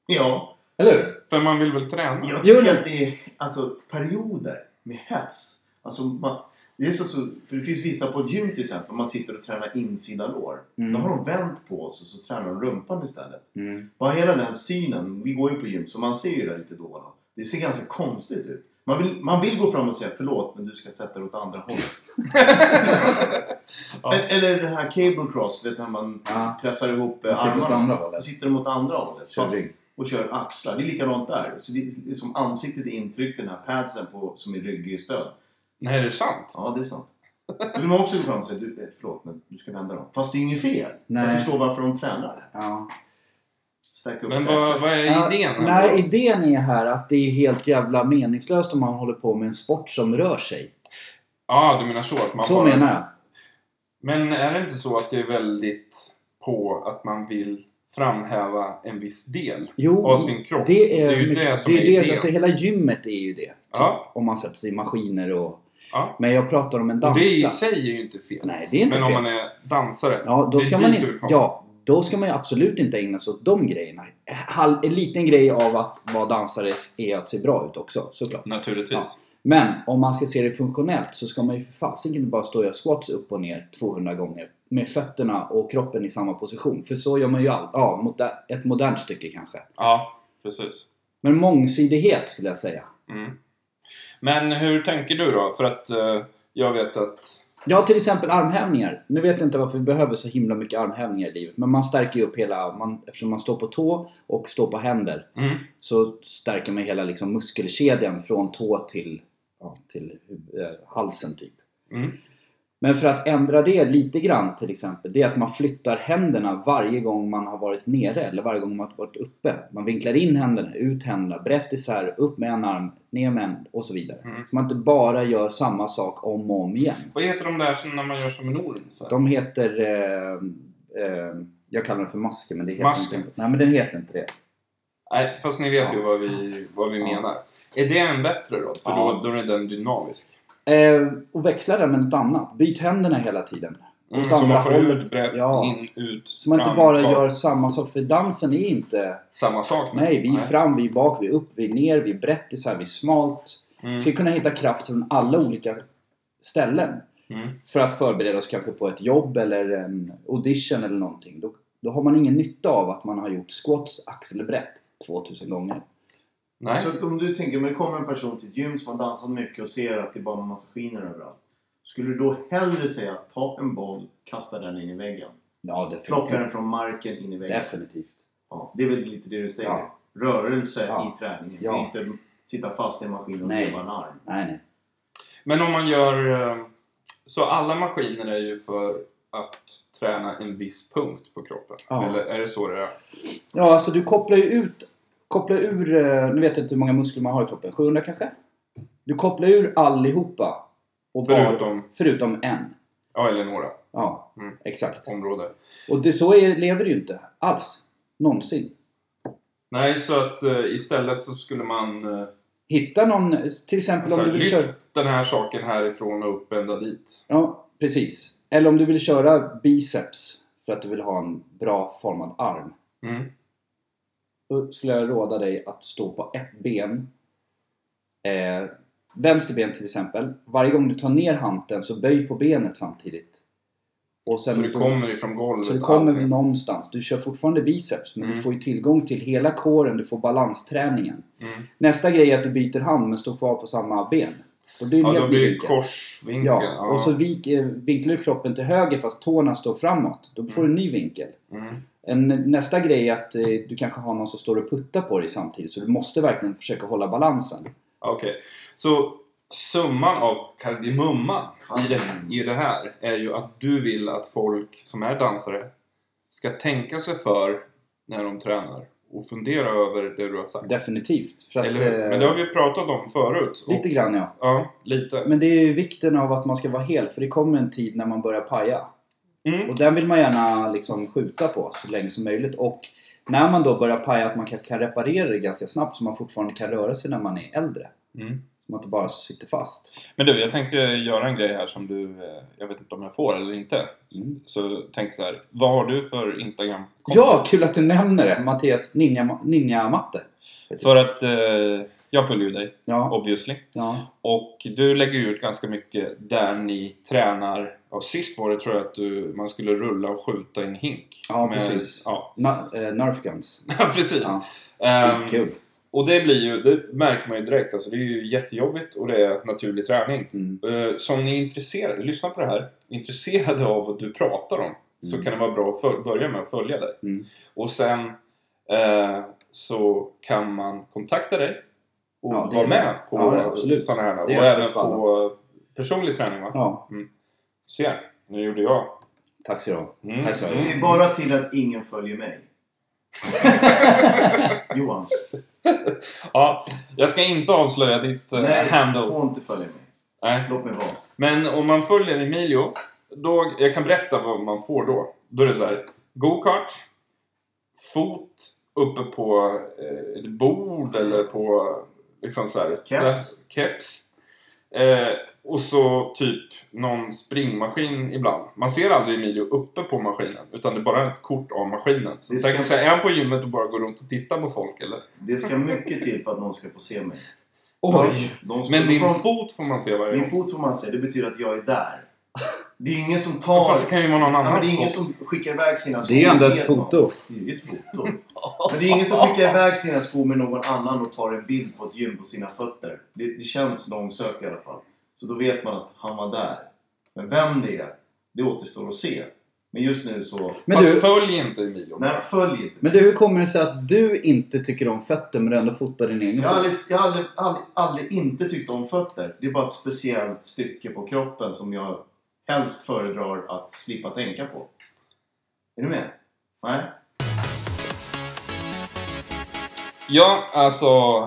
Speaker 2: Ja.
Speaker 3: Eller hur?
Speaker 1: För man vill väl träna?
Speaker 2: Jag
Speaker 3: Jo,
Speaker 2: tycker
Speaker 3: men-
Speaker 2: att det är alltså, perioder med hets. Alltså, man, det, är så, så, för det finns vissa på ett gym till exempel, man sitter och tränar insidan lår.
Speaker 3: Mm. mm.
Speaker 2: Då har de vänt på sig och så tränar de rumpan istället. Bara hela den synen, vi går ju på gym så man ser ju det lite då och då. Det ser ganska konstigt ut. Man vill, man vill gå fram och säga förlåt men du ska sätta dig åt andra hållet.
Speaker 1: Ja.
Speaker 2: E- Eller den här cable cross, vet du, när man
Speaker 3: Ja.
Speaker 2: pressar ihop
Speaker 3: Man
Speaker 2: eh,
Speaker 3: sitter åt
Speaker 2: armarna.
Speaker 3: andra hållet.
Speaker 2: Så sitter de åt andra hållet
Speaker 3: Kör
Speaker 2: fast,
Speaker 3: rygg.
Speaker 2: och kör axlar. Det är likadant där. Så det är liksom ansiktet är intryckt i den här padsen på, som är ryggstöd.
Speaker 1: Nej, det är sant.
Speaker 2: Ja, det är sant. Då vill man också gå fram och säga du, eh, förlåt men du ska vända dem. Fast det är ju inget fel.
Speaker 3: Nej.
Speaker 2: Jag förstår varför de tränar.
Speaker 3: Ja.
Speaker 2: Stärka upp
Speaker 1: Men
Speaker 2: sätet.
Speaker 1: vad, vad är idén?
Speaker 3: Ja,
Speaker 1: här
Speaker 3: nej,
Speaker 1: då?
Speaker 3: idén är här att det är helt jävla meningslöst om man håller på med en sport som rör sig.
Speaker 1: Ja, du menar så? Att man
Speaker 3: Så
Speaker 1: bara...
Speaker 3: menar jag.
Speaker 1: Men är det inte så att det är väldigt på att man vill framhäva en viss del
Speaker 3: Jo,
Speaker 1: av sin kropp?
Speaker 3: det är,
Speaker 1: det är ju
Speaker 3: mycket-
Speaker 1: det som
Speaker 3: det
Speaker 1: är
Speaker 3: är
Speaker 1: idén.
Speaker 3: alltså, hela gymmet är ju det.
Speaker 1: Ja,
Speaker 3: Om man sätter sig i maskiner och...
Speaker 1: ja.
Speaker 3: Men jag pratar om en
Speaker 1: Och det i
Speaker 3: dansklass.
Speaker 1: sig är ju inte fel.
Speaker 3: Nej, det är inte
Speaker 1: Men om
Speaker 3: fel.
Speaker 1: man är dansare,
Speaker 3: Ja, då
Speaker 1: det är
Speaker 3: ska
Speaker 1: dit
Speaker 3: man
Speaker 1: du vill
Speaker 3: inte...
Speaker 1: komma.
Speaker 3: Ja, då ska man ju absolut inte ägna sig åt de grejerna. Halv, en liten grej av att vara dansare är att se bra ut också, såklart.
Speaker 1: Naturligtvis.
Speaker 3: Men om man ska se det funktionellt så ska man ju för fasiken inte bara stå och göra squats upp och ner 200 gånger med fötterna och kroppen i samma position. För så gör man ju all, ja, moder, ett modernt stycke kanske.
Speaker 1: Ja, precis.
Speaker 3: Men mångsidighet skulle jag säga.
Speaker 1: Mm. Men hur tänker du då? För att eh, jag vet att...
Speaker 3: Ja, till exempel armhävningar. Nu vet jag inte varför vi behöver så himla mycket armhävningar i livet. Men man stärker ju upp hela... Man, eftersom man står på tå och står på händer
Speaker 1: Mm.
Speaker 3: så stärker man hela liksom, muskelkedjan från tå till, ja, till huv- eh, halsen typ.
Speaker 1: Mm.
Speaker 3: Men för att ändra det lite grann till exempel, det är att man flyttar händerna varje gång man har varit nere eller varje gång man har varit uppe. Man vinklar in händerna, ut händerna, brett isär, upp med en arm, ner med en och så vidare.
Speaker 1: Mm.
Speaker 3: Så man inte bara gör samma sak om och om igen.
Speaker 1: Vad heter de där som när man gör som en orm? Så här?
Speaker 3: De heter... Eh, eh, jag kallar den för masker men det heter
Speaker 1: Masken.
Speaker 3: inte Nej men den heter inte det.
Speaker 1: Nej, fast ni vet ju
Speaker 3: Ja.
Speaker 1: vad vi, vad vi
Speaker 3: Ja.
Speaker 1: menar. Är det en bättre då? För
Speaker 3: Ja.
Speaker 1: då, då är den dynamisk.
Speaker 3: Eh, och växla den med något annat. Byt händerna hela tiden.
Speaker 1: Mm,
Speaker 3: Åt
Speaker 1: så
Speaker 3: andra
Speaker 1: man får
Speaker 3: hållet.
Speaker 1: ut, brett,
Speaker 3: Ja.
Speaker 1: in, ut,
Speaker 3: Så man inte
Speaker 1: fram,
Speaker 3: bara
Speaker 1: bak.
Speaker 3: gör samma sak. För dansen är inte...
Speaker 1: samma sak. men-
Speaker 3: Nej, vi är fram, vi är bak, vi är upp, vi är ner, vi är brett, isär, vi är smalt.
Speaker 1: Mm.
Speaker 3: Så vi kunna hitta kraft från alla olika ställen.
Speaker 1: Mm.
Speaker 3: För att förbereda oss kanske på ett jobb eller en audition eller någonting. Då, då har man ingen nytta av att man har gjort squats, axelbrett 2000 gånger.
Speaker 1: Nej.
Speaker 2: Så att Alltså, om du tänker, men det kommer en person till ett gym som har dansat mycket och ser att det är bara en massa skiner överallt. Skulle du då hellre säga ta en boll, kasta den in i väggen?
Speaker 3: Ja,
Speaker 2: Plocka den
Speaker 3: definitivt.
Speaker 2: från marken in i väggen?
Speaker 3: Definitivt.
Speaker 2: Ja, det är väl lite det du säger?
Speaker 3: Ja.
Speaker 2: Rörelse
Speaker 3: Ja.
Speaker 2: i träningen.
Speaker 3: Ja.
Speaker 2: Inte sitta fast i en maskin och
Speaker 3: Nej.
Speaker 2: leva en arm.
Speaker 3: Nej, nej.
Speaker 1: Men om man gör... eh, Så alla maskiner är ju för att träna en viss punkt på kroppen.
Speaker 3: Ja.
Speaker 1: Eller är det så det är?
Speaker 3: Ja, alltså du kopplar ju ut... Kopplar ur... eh, Nu vet jag inte hur många muskler man har i kroppen. 700 kanske? Du kopplar ur allihopa. Och bara-
Speaker 1: Förutom-
Speaker 3: förutom en.
Speaker 1: Ja, eller några
Speaker 3: Ja,
Speaker 1: Mm.
Speaker 3: exakt.
Speaker 1: områden.
Speaker 3: Och det, så är, lever det ju inte alls. Någonsin.
Speaker 1: Nej, så att eh, istället så skulle man... eh,
Speaker 3: Hitta någon, till exempel
Speaker 1: Så
Speaker 3: om
Speaker 1: här,
Speaker 3: du vill
Speaker 1: Alltså, lyft
Speaker 3: köra...
Speaker 1: den här saken härifrån och upp ända dit.
Speaker 3: Ja, precis. Eller om du vill köra biceps för att du vill ha en bra formad arm.
Speaker 1: Mm.
Speaker 3: Då skulle jag råda dig att stå på ett ben. Eh, vänster ben till exempel. Varje gång du tar ner hanteln så böj på benet samtidigt. Och sen
Speaker 1: Så det kommer ifrån golvet.
Speaker 3: så det kommer
Speaker 1: allting.
Speaker 3: någonstans. Du kör fortfarande biceps men
Speaker 1: Mm.
Speaker 3: du får ju tillgång till hela kåren. Du får balansträningen.
Speaker 1: Mm.
Speaker 3: Nästa grej är att du byter hand men står kvar på samma ben. Och det är
Speaker 1: Ja,
Speaker 3: det
Speaker 1: då
Speaker 3: att
Speaker 1: blir det
Speaker 3: viker.
Speaker 1: korsvinkeln.
Speaker 3: Ja,
Speaker 1: Ja.
Speaker 3: och så vik, eh, vinklar du kroppen till höger fast tårna står framåt. Då får du en ny vinkel.
Speaker 1: Mm.
Speaker 3: En, nästa grej är att eh, du kanske har någon som står och puttar på dig samtidigt så du måste verkligen försöka hålla balansen.
Speaker 1: Okej. Så summan av kardemumman i det, i det här är ju att du vill att folk som är dansare ska tänka sig för när de tränar och fundera över det du har sagt.
Speaker 3: Definitivt. För att,
Speaker 1: Eller hur? Men det har vi pratat om förut.
Speaker 3: eh, Lite grann ja.
Speaker 1: Ja, lite.
Speaker 3: Men det är ju vikten av att man ska vara hel för det kommer en tid när man börjar paja.
Speaker 1: Mm.
Speaker 3: Och den vill man gärna liksom skjuta på så länge som möjligt. Och när man då börjar paja att man kanske kan reparera det ganska snabbt så man fortfarande kan röra sig när man är äldre.
Speaker 1: Mm.
Speaker 3: Så man inte bara sitter fast.
Speaker 1: Men du, jag tänkte göra en grej här som du, eh, jag vet inte om jag får eller inte.
Speaker 3: Mm.
Speaker 1: Så tänk så här, vad har du för instagram
Speaker 3: Ja, kul att du nämner det! Mattias Ninja, Ninja Matte.
Speaker 1: För att eh, jag följer ju dig,
Speaker 3: Ja,
Speaker 1: obviously.
Speaker 3: ja.
Speaker 1: Och du lägger ju ut ganska mycket där ni tränar. Ja, sist var det tror jag att du, man skulle rulla och skjuta i en hink.
Speaker 3: Ja, precis.
Speaker 1: Ja,
Speaker 3: Na, eh, Nerf Guns.
Speaker 1: precis.
Speaker 3: Ja.
Speaker 1: Ehm,
Speaker 3: Kul.
Speaker 1: och det blir ju, det märker man ju direkt. Alltså, det är ju jättejobbigt och det är naturlig träning.
Speaker 3: Mm.
Speaker 1: Eh, Så om ni är intresserade, lyssna på det här, intresserade av vad du pratar om så kan det vara bra att föl- börja med att följa dig.
Speaker 3: Mm.
Speaker 1: Och sen eh, så kan man kontakta dig och
Speaker 3: Ja, det-
Speaker 1: vara med på
Speaker 3: ja, ja,
Speaker 1: ja,
Speaker 3: absolut.
Speaker 1: sådana här och
Speaker 3: Det är
Speaker 1: även
Speaker 3: för fan.
Speaker 1: få personlig träning va?
Speaker 3: Ja,
Speaker 1: Se, nu gjorde jag.
Speaker 3: tack så du ha.
Speaker 1: Mm.
Speaker 3: Tack så mycket.
Speaker 2: Se bara till att ingen följer mig. Johan,
Speaker 1: Ja, jag ska inte avslöja ditt eh,
Speaker 2: nej,
Speaker 1: handle.
Speaker 2: du får inte följa mig.
Speaker 1: Nej.
Speaker 2: Låt mig vara.
Speaker 1: Men om man följer Emilio, då, jag kan berätta vad man får då. Då är det så här, go-kart, fot uppe på eh, ett bord eller på liksom så här,
Speaker 2: Mm. Keps.
Speaker 1: där- keps. Eh, och så typ någon springmaskin ibland. Man ser aldrig Emilio uppe på maskinen, utan det är bara ett kort av maskinen. Så
Speaker 2: Det
Speaker 1: tänk
Speaker 2: ska-
Speaker 1: så här, är han på gymmet och bara går runt och tittar på folk eller?
Speaker 2: Det ska mycket till för att någon ska få se mig.
Speaker 3: Oj!
Speaker 2: De ska
Speaker 1: Men din
Speaker 2: från-
Speaker 1: fot får man se varje
Speaker 2: min
Speaker 1: gång.
Speaker 2: fot får man säga, det betyder att jag är där. Det är ingen som tar...
Speaker 1: Fast det kan ju vara någon
Speaker 2: Ja, men det är
Speaker 1: annans
Speaker 2: ingen
Speaker 1: fot.
Speaker 2: som skickar iväg sina skor.
Speaker 3: Det är ändå
Speaker 2: med
Speaker 3: ett
Speaker 2: någon.
Speaker 3: foto.
Speaker 2: Det är ett foto. Men det är ingen som skickar iväg sina skor med någon annan och tar en bild på ett gym på sina fötter. Det, det känns långsökt i alla fall. Så då vet man att han var där. Men vem det är, det återstår att se. Men just nu så...
Speaker 3: Men
Speaker 1: Fast
Speaker 3: du,
Speaker 1: följ inte Emilio.
Speaker 2: Nej, följ inte mig.
Speaker 3: men du, hur kommer det sig att du inte tycker om fötter men du ändå fotar din egen
Speaker 2: Jag har
Speaker 3: fot?
Speaker 2: aldrig, jag har aldrig, aldrig, aldrig inte tyckt om fötter. Det är bara ett speciellt stycke på kroppen som jag helst föredrar att slippa tänka på. Är du med? Nej?
Speaker 1: Ja, alltså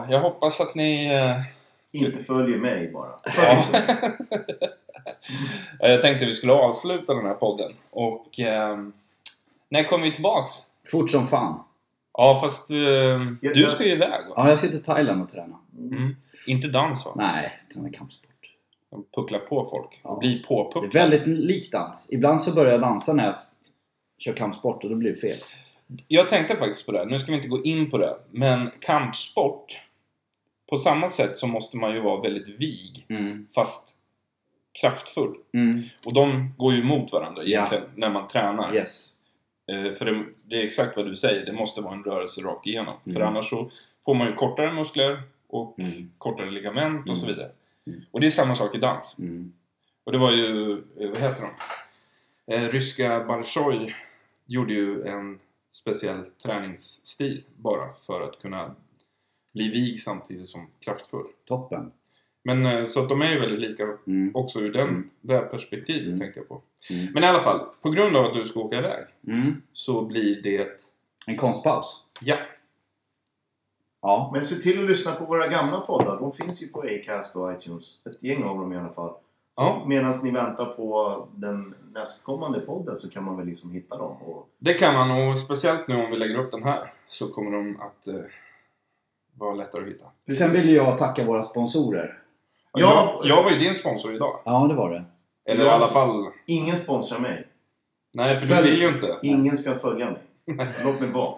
Speaker 1: jag hoppas att ni... Eh,
Speaker 2: Inte följer mig bara. Följ inte mig.
Speaker 1: jag tänkte vi skulle avsluta den här podden. Och... ehm, när kommer vi tillbaks?
Speaker 3: Fort som fan.
Speaker 1: Ja, fast ehm,
Speaker 2: Jag-
Speaker 1: du
Speaker 2: jag-
Speaker 1: ska ju iväg va?
Speaker 3: Ja, jag ska till Thailand och träna.
Speaker 1: Inte dans va?
Speaker 3: Nej, träna kampsport.
Speaker 1: De pucklar på folk och
Speaker 3: Ja.
Speaker 1: blir
Speaker 3: Det är
Speaker 1: påpucklade.
Speaker 3: väldigt likt dans. Ibland så börjar jag dansa när jag kör kampsport och då blir det fel.
Speaker 1: Jag tänkte faktiskt på det. här. Nu ska vi inte gå in på det. Men kampsport. På samma sätt så måste man ju vara väldigt vig.
Speaker 3: Mm.
Speaker 1: Fast kraftfull.
Speaker 3: Mm.
Speaker 1: Och de går ju emot varandra
Speaker 3: Ja.
Speaker 1: egentligen när man tränar.
Speaker 3: Yes.
Speaker 1: Eh, För det, det är exakt vad du säger, det måste vara en rörelse rakt igenom.
Speaker 3: Mm.
Speaker 1: För annars så får man ju kortare muskler och
Speaker 3: Mm.
Speaker 1: kortare ligament och så vidare.
Speaker 3: Mm.
Speaker 1: Och det är samma sak i dans.
Speaker 3: Mm.
Speaker 1: Och det var ju, eh, vad heter de? Eh, ryska Balshoi gjorde ju en speciell träningsstil bara för att kunna bli vig samtidigt som kraftfull.
Speaker 3: Toppen.
Speaker 1: Men eh, så att de är ju väldigt lika
Speaker 3: Mm.
Speaker 1: också ur den, det här perspektivet
Speaker 3: Mm.
Speaker 1: tänkte jag på.
Speaker 3: Mm.
Speaker 1: Men i alla fall, på grund av att du ska åka iväg
Speaker 3: Mm.
Speaker 1: så blir det,
Speaker 3: En konstpaus.
Speaker 1: ja,
Speaker 3: Ja.
Speaker 2: Men se till att lyssna på våra gamla poddar. De finns ju på Acast och iTunes. Ett gäng av dem i alla fall.
Speaker 1: Ja.
Speaker 2: Ja. Medan ni väntar på den nästkommande podden så kan man väl liksom hitta dem. Och
Speaker 1: Det kan man och speciellt nu om vi lägger upp den här så kommer de att eh, vara lättare att hitta.
Speaker 3: Sen vill jag tacka våra sponsorer.
Speaker 2: Ja.
Speaker 1: Jag, jag var ju din sponsor idag.
Speaker 3: Ja, det var det.
Speaker 1: Eller i
Speaker 2: Ja.
Speaker 1: alla fall...
Speaker 2: ingen sponsrar mig.
Speaker 1: Nej, för du
Speaker 3: Följ-
Speaker 1: vill ju inte.
Speaker 2: Ingen ska följa mig. Låt mig vara.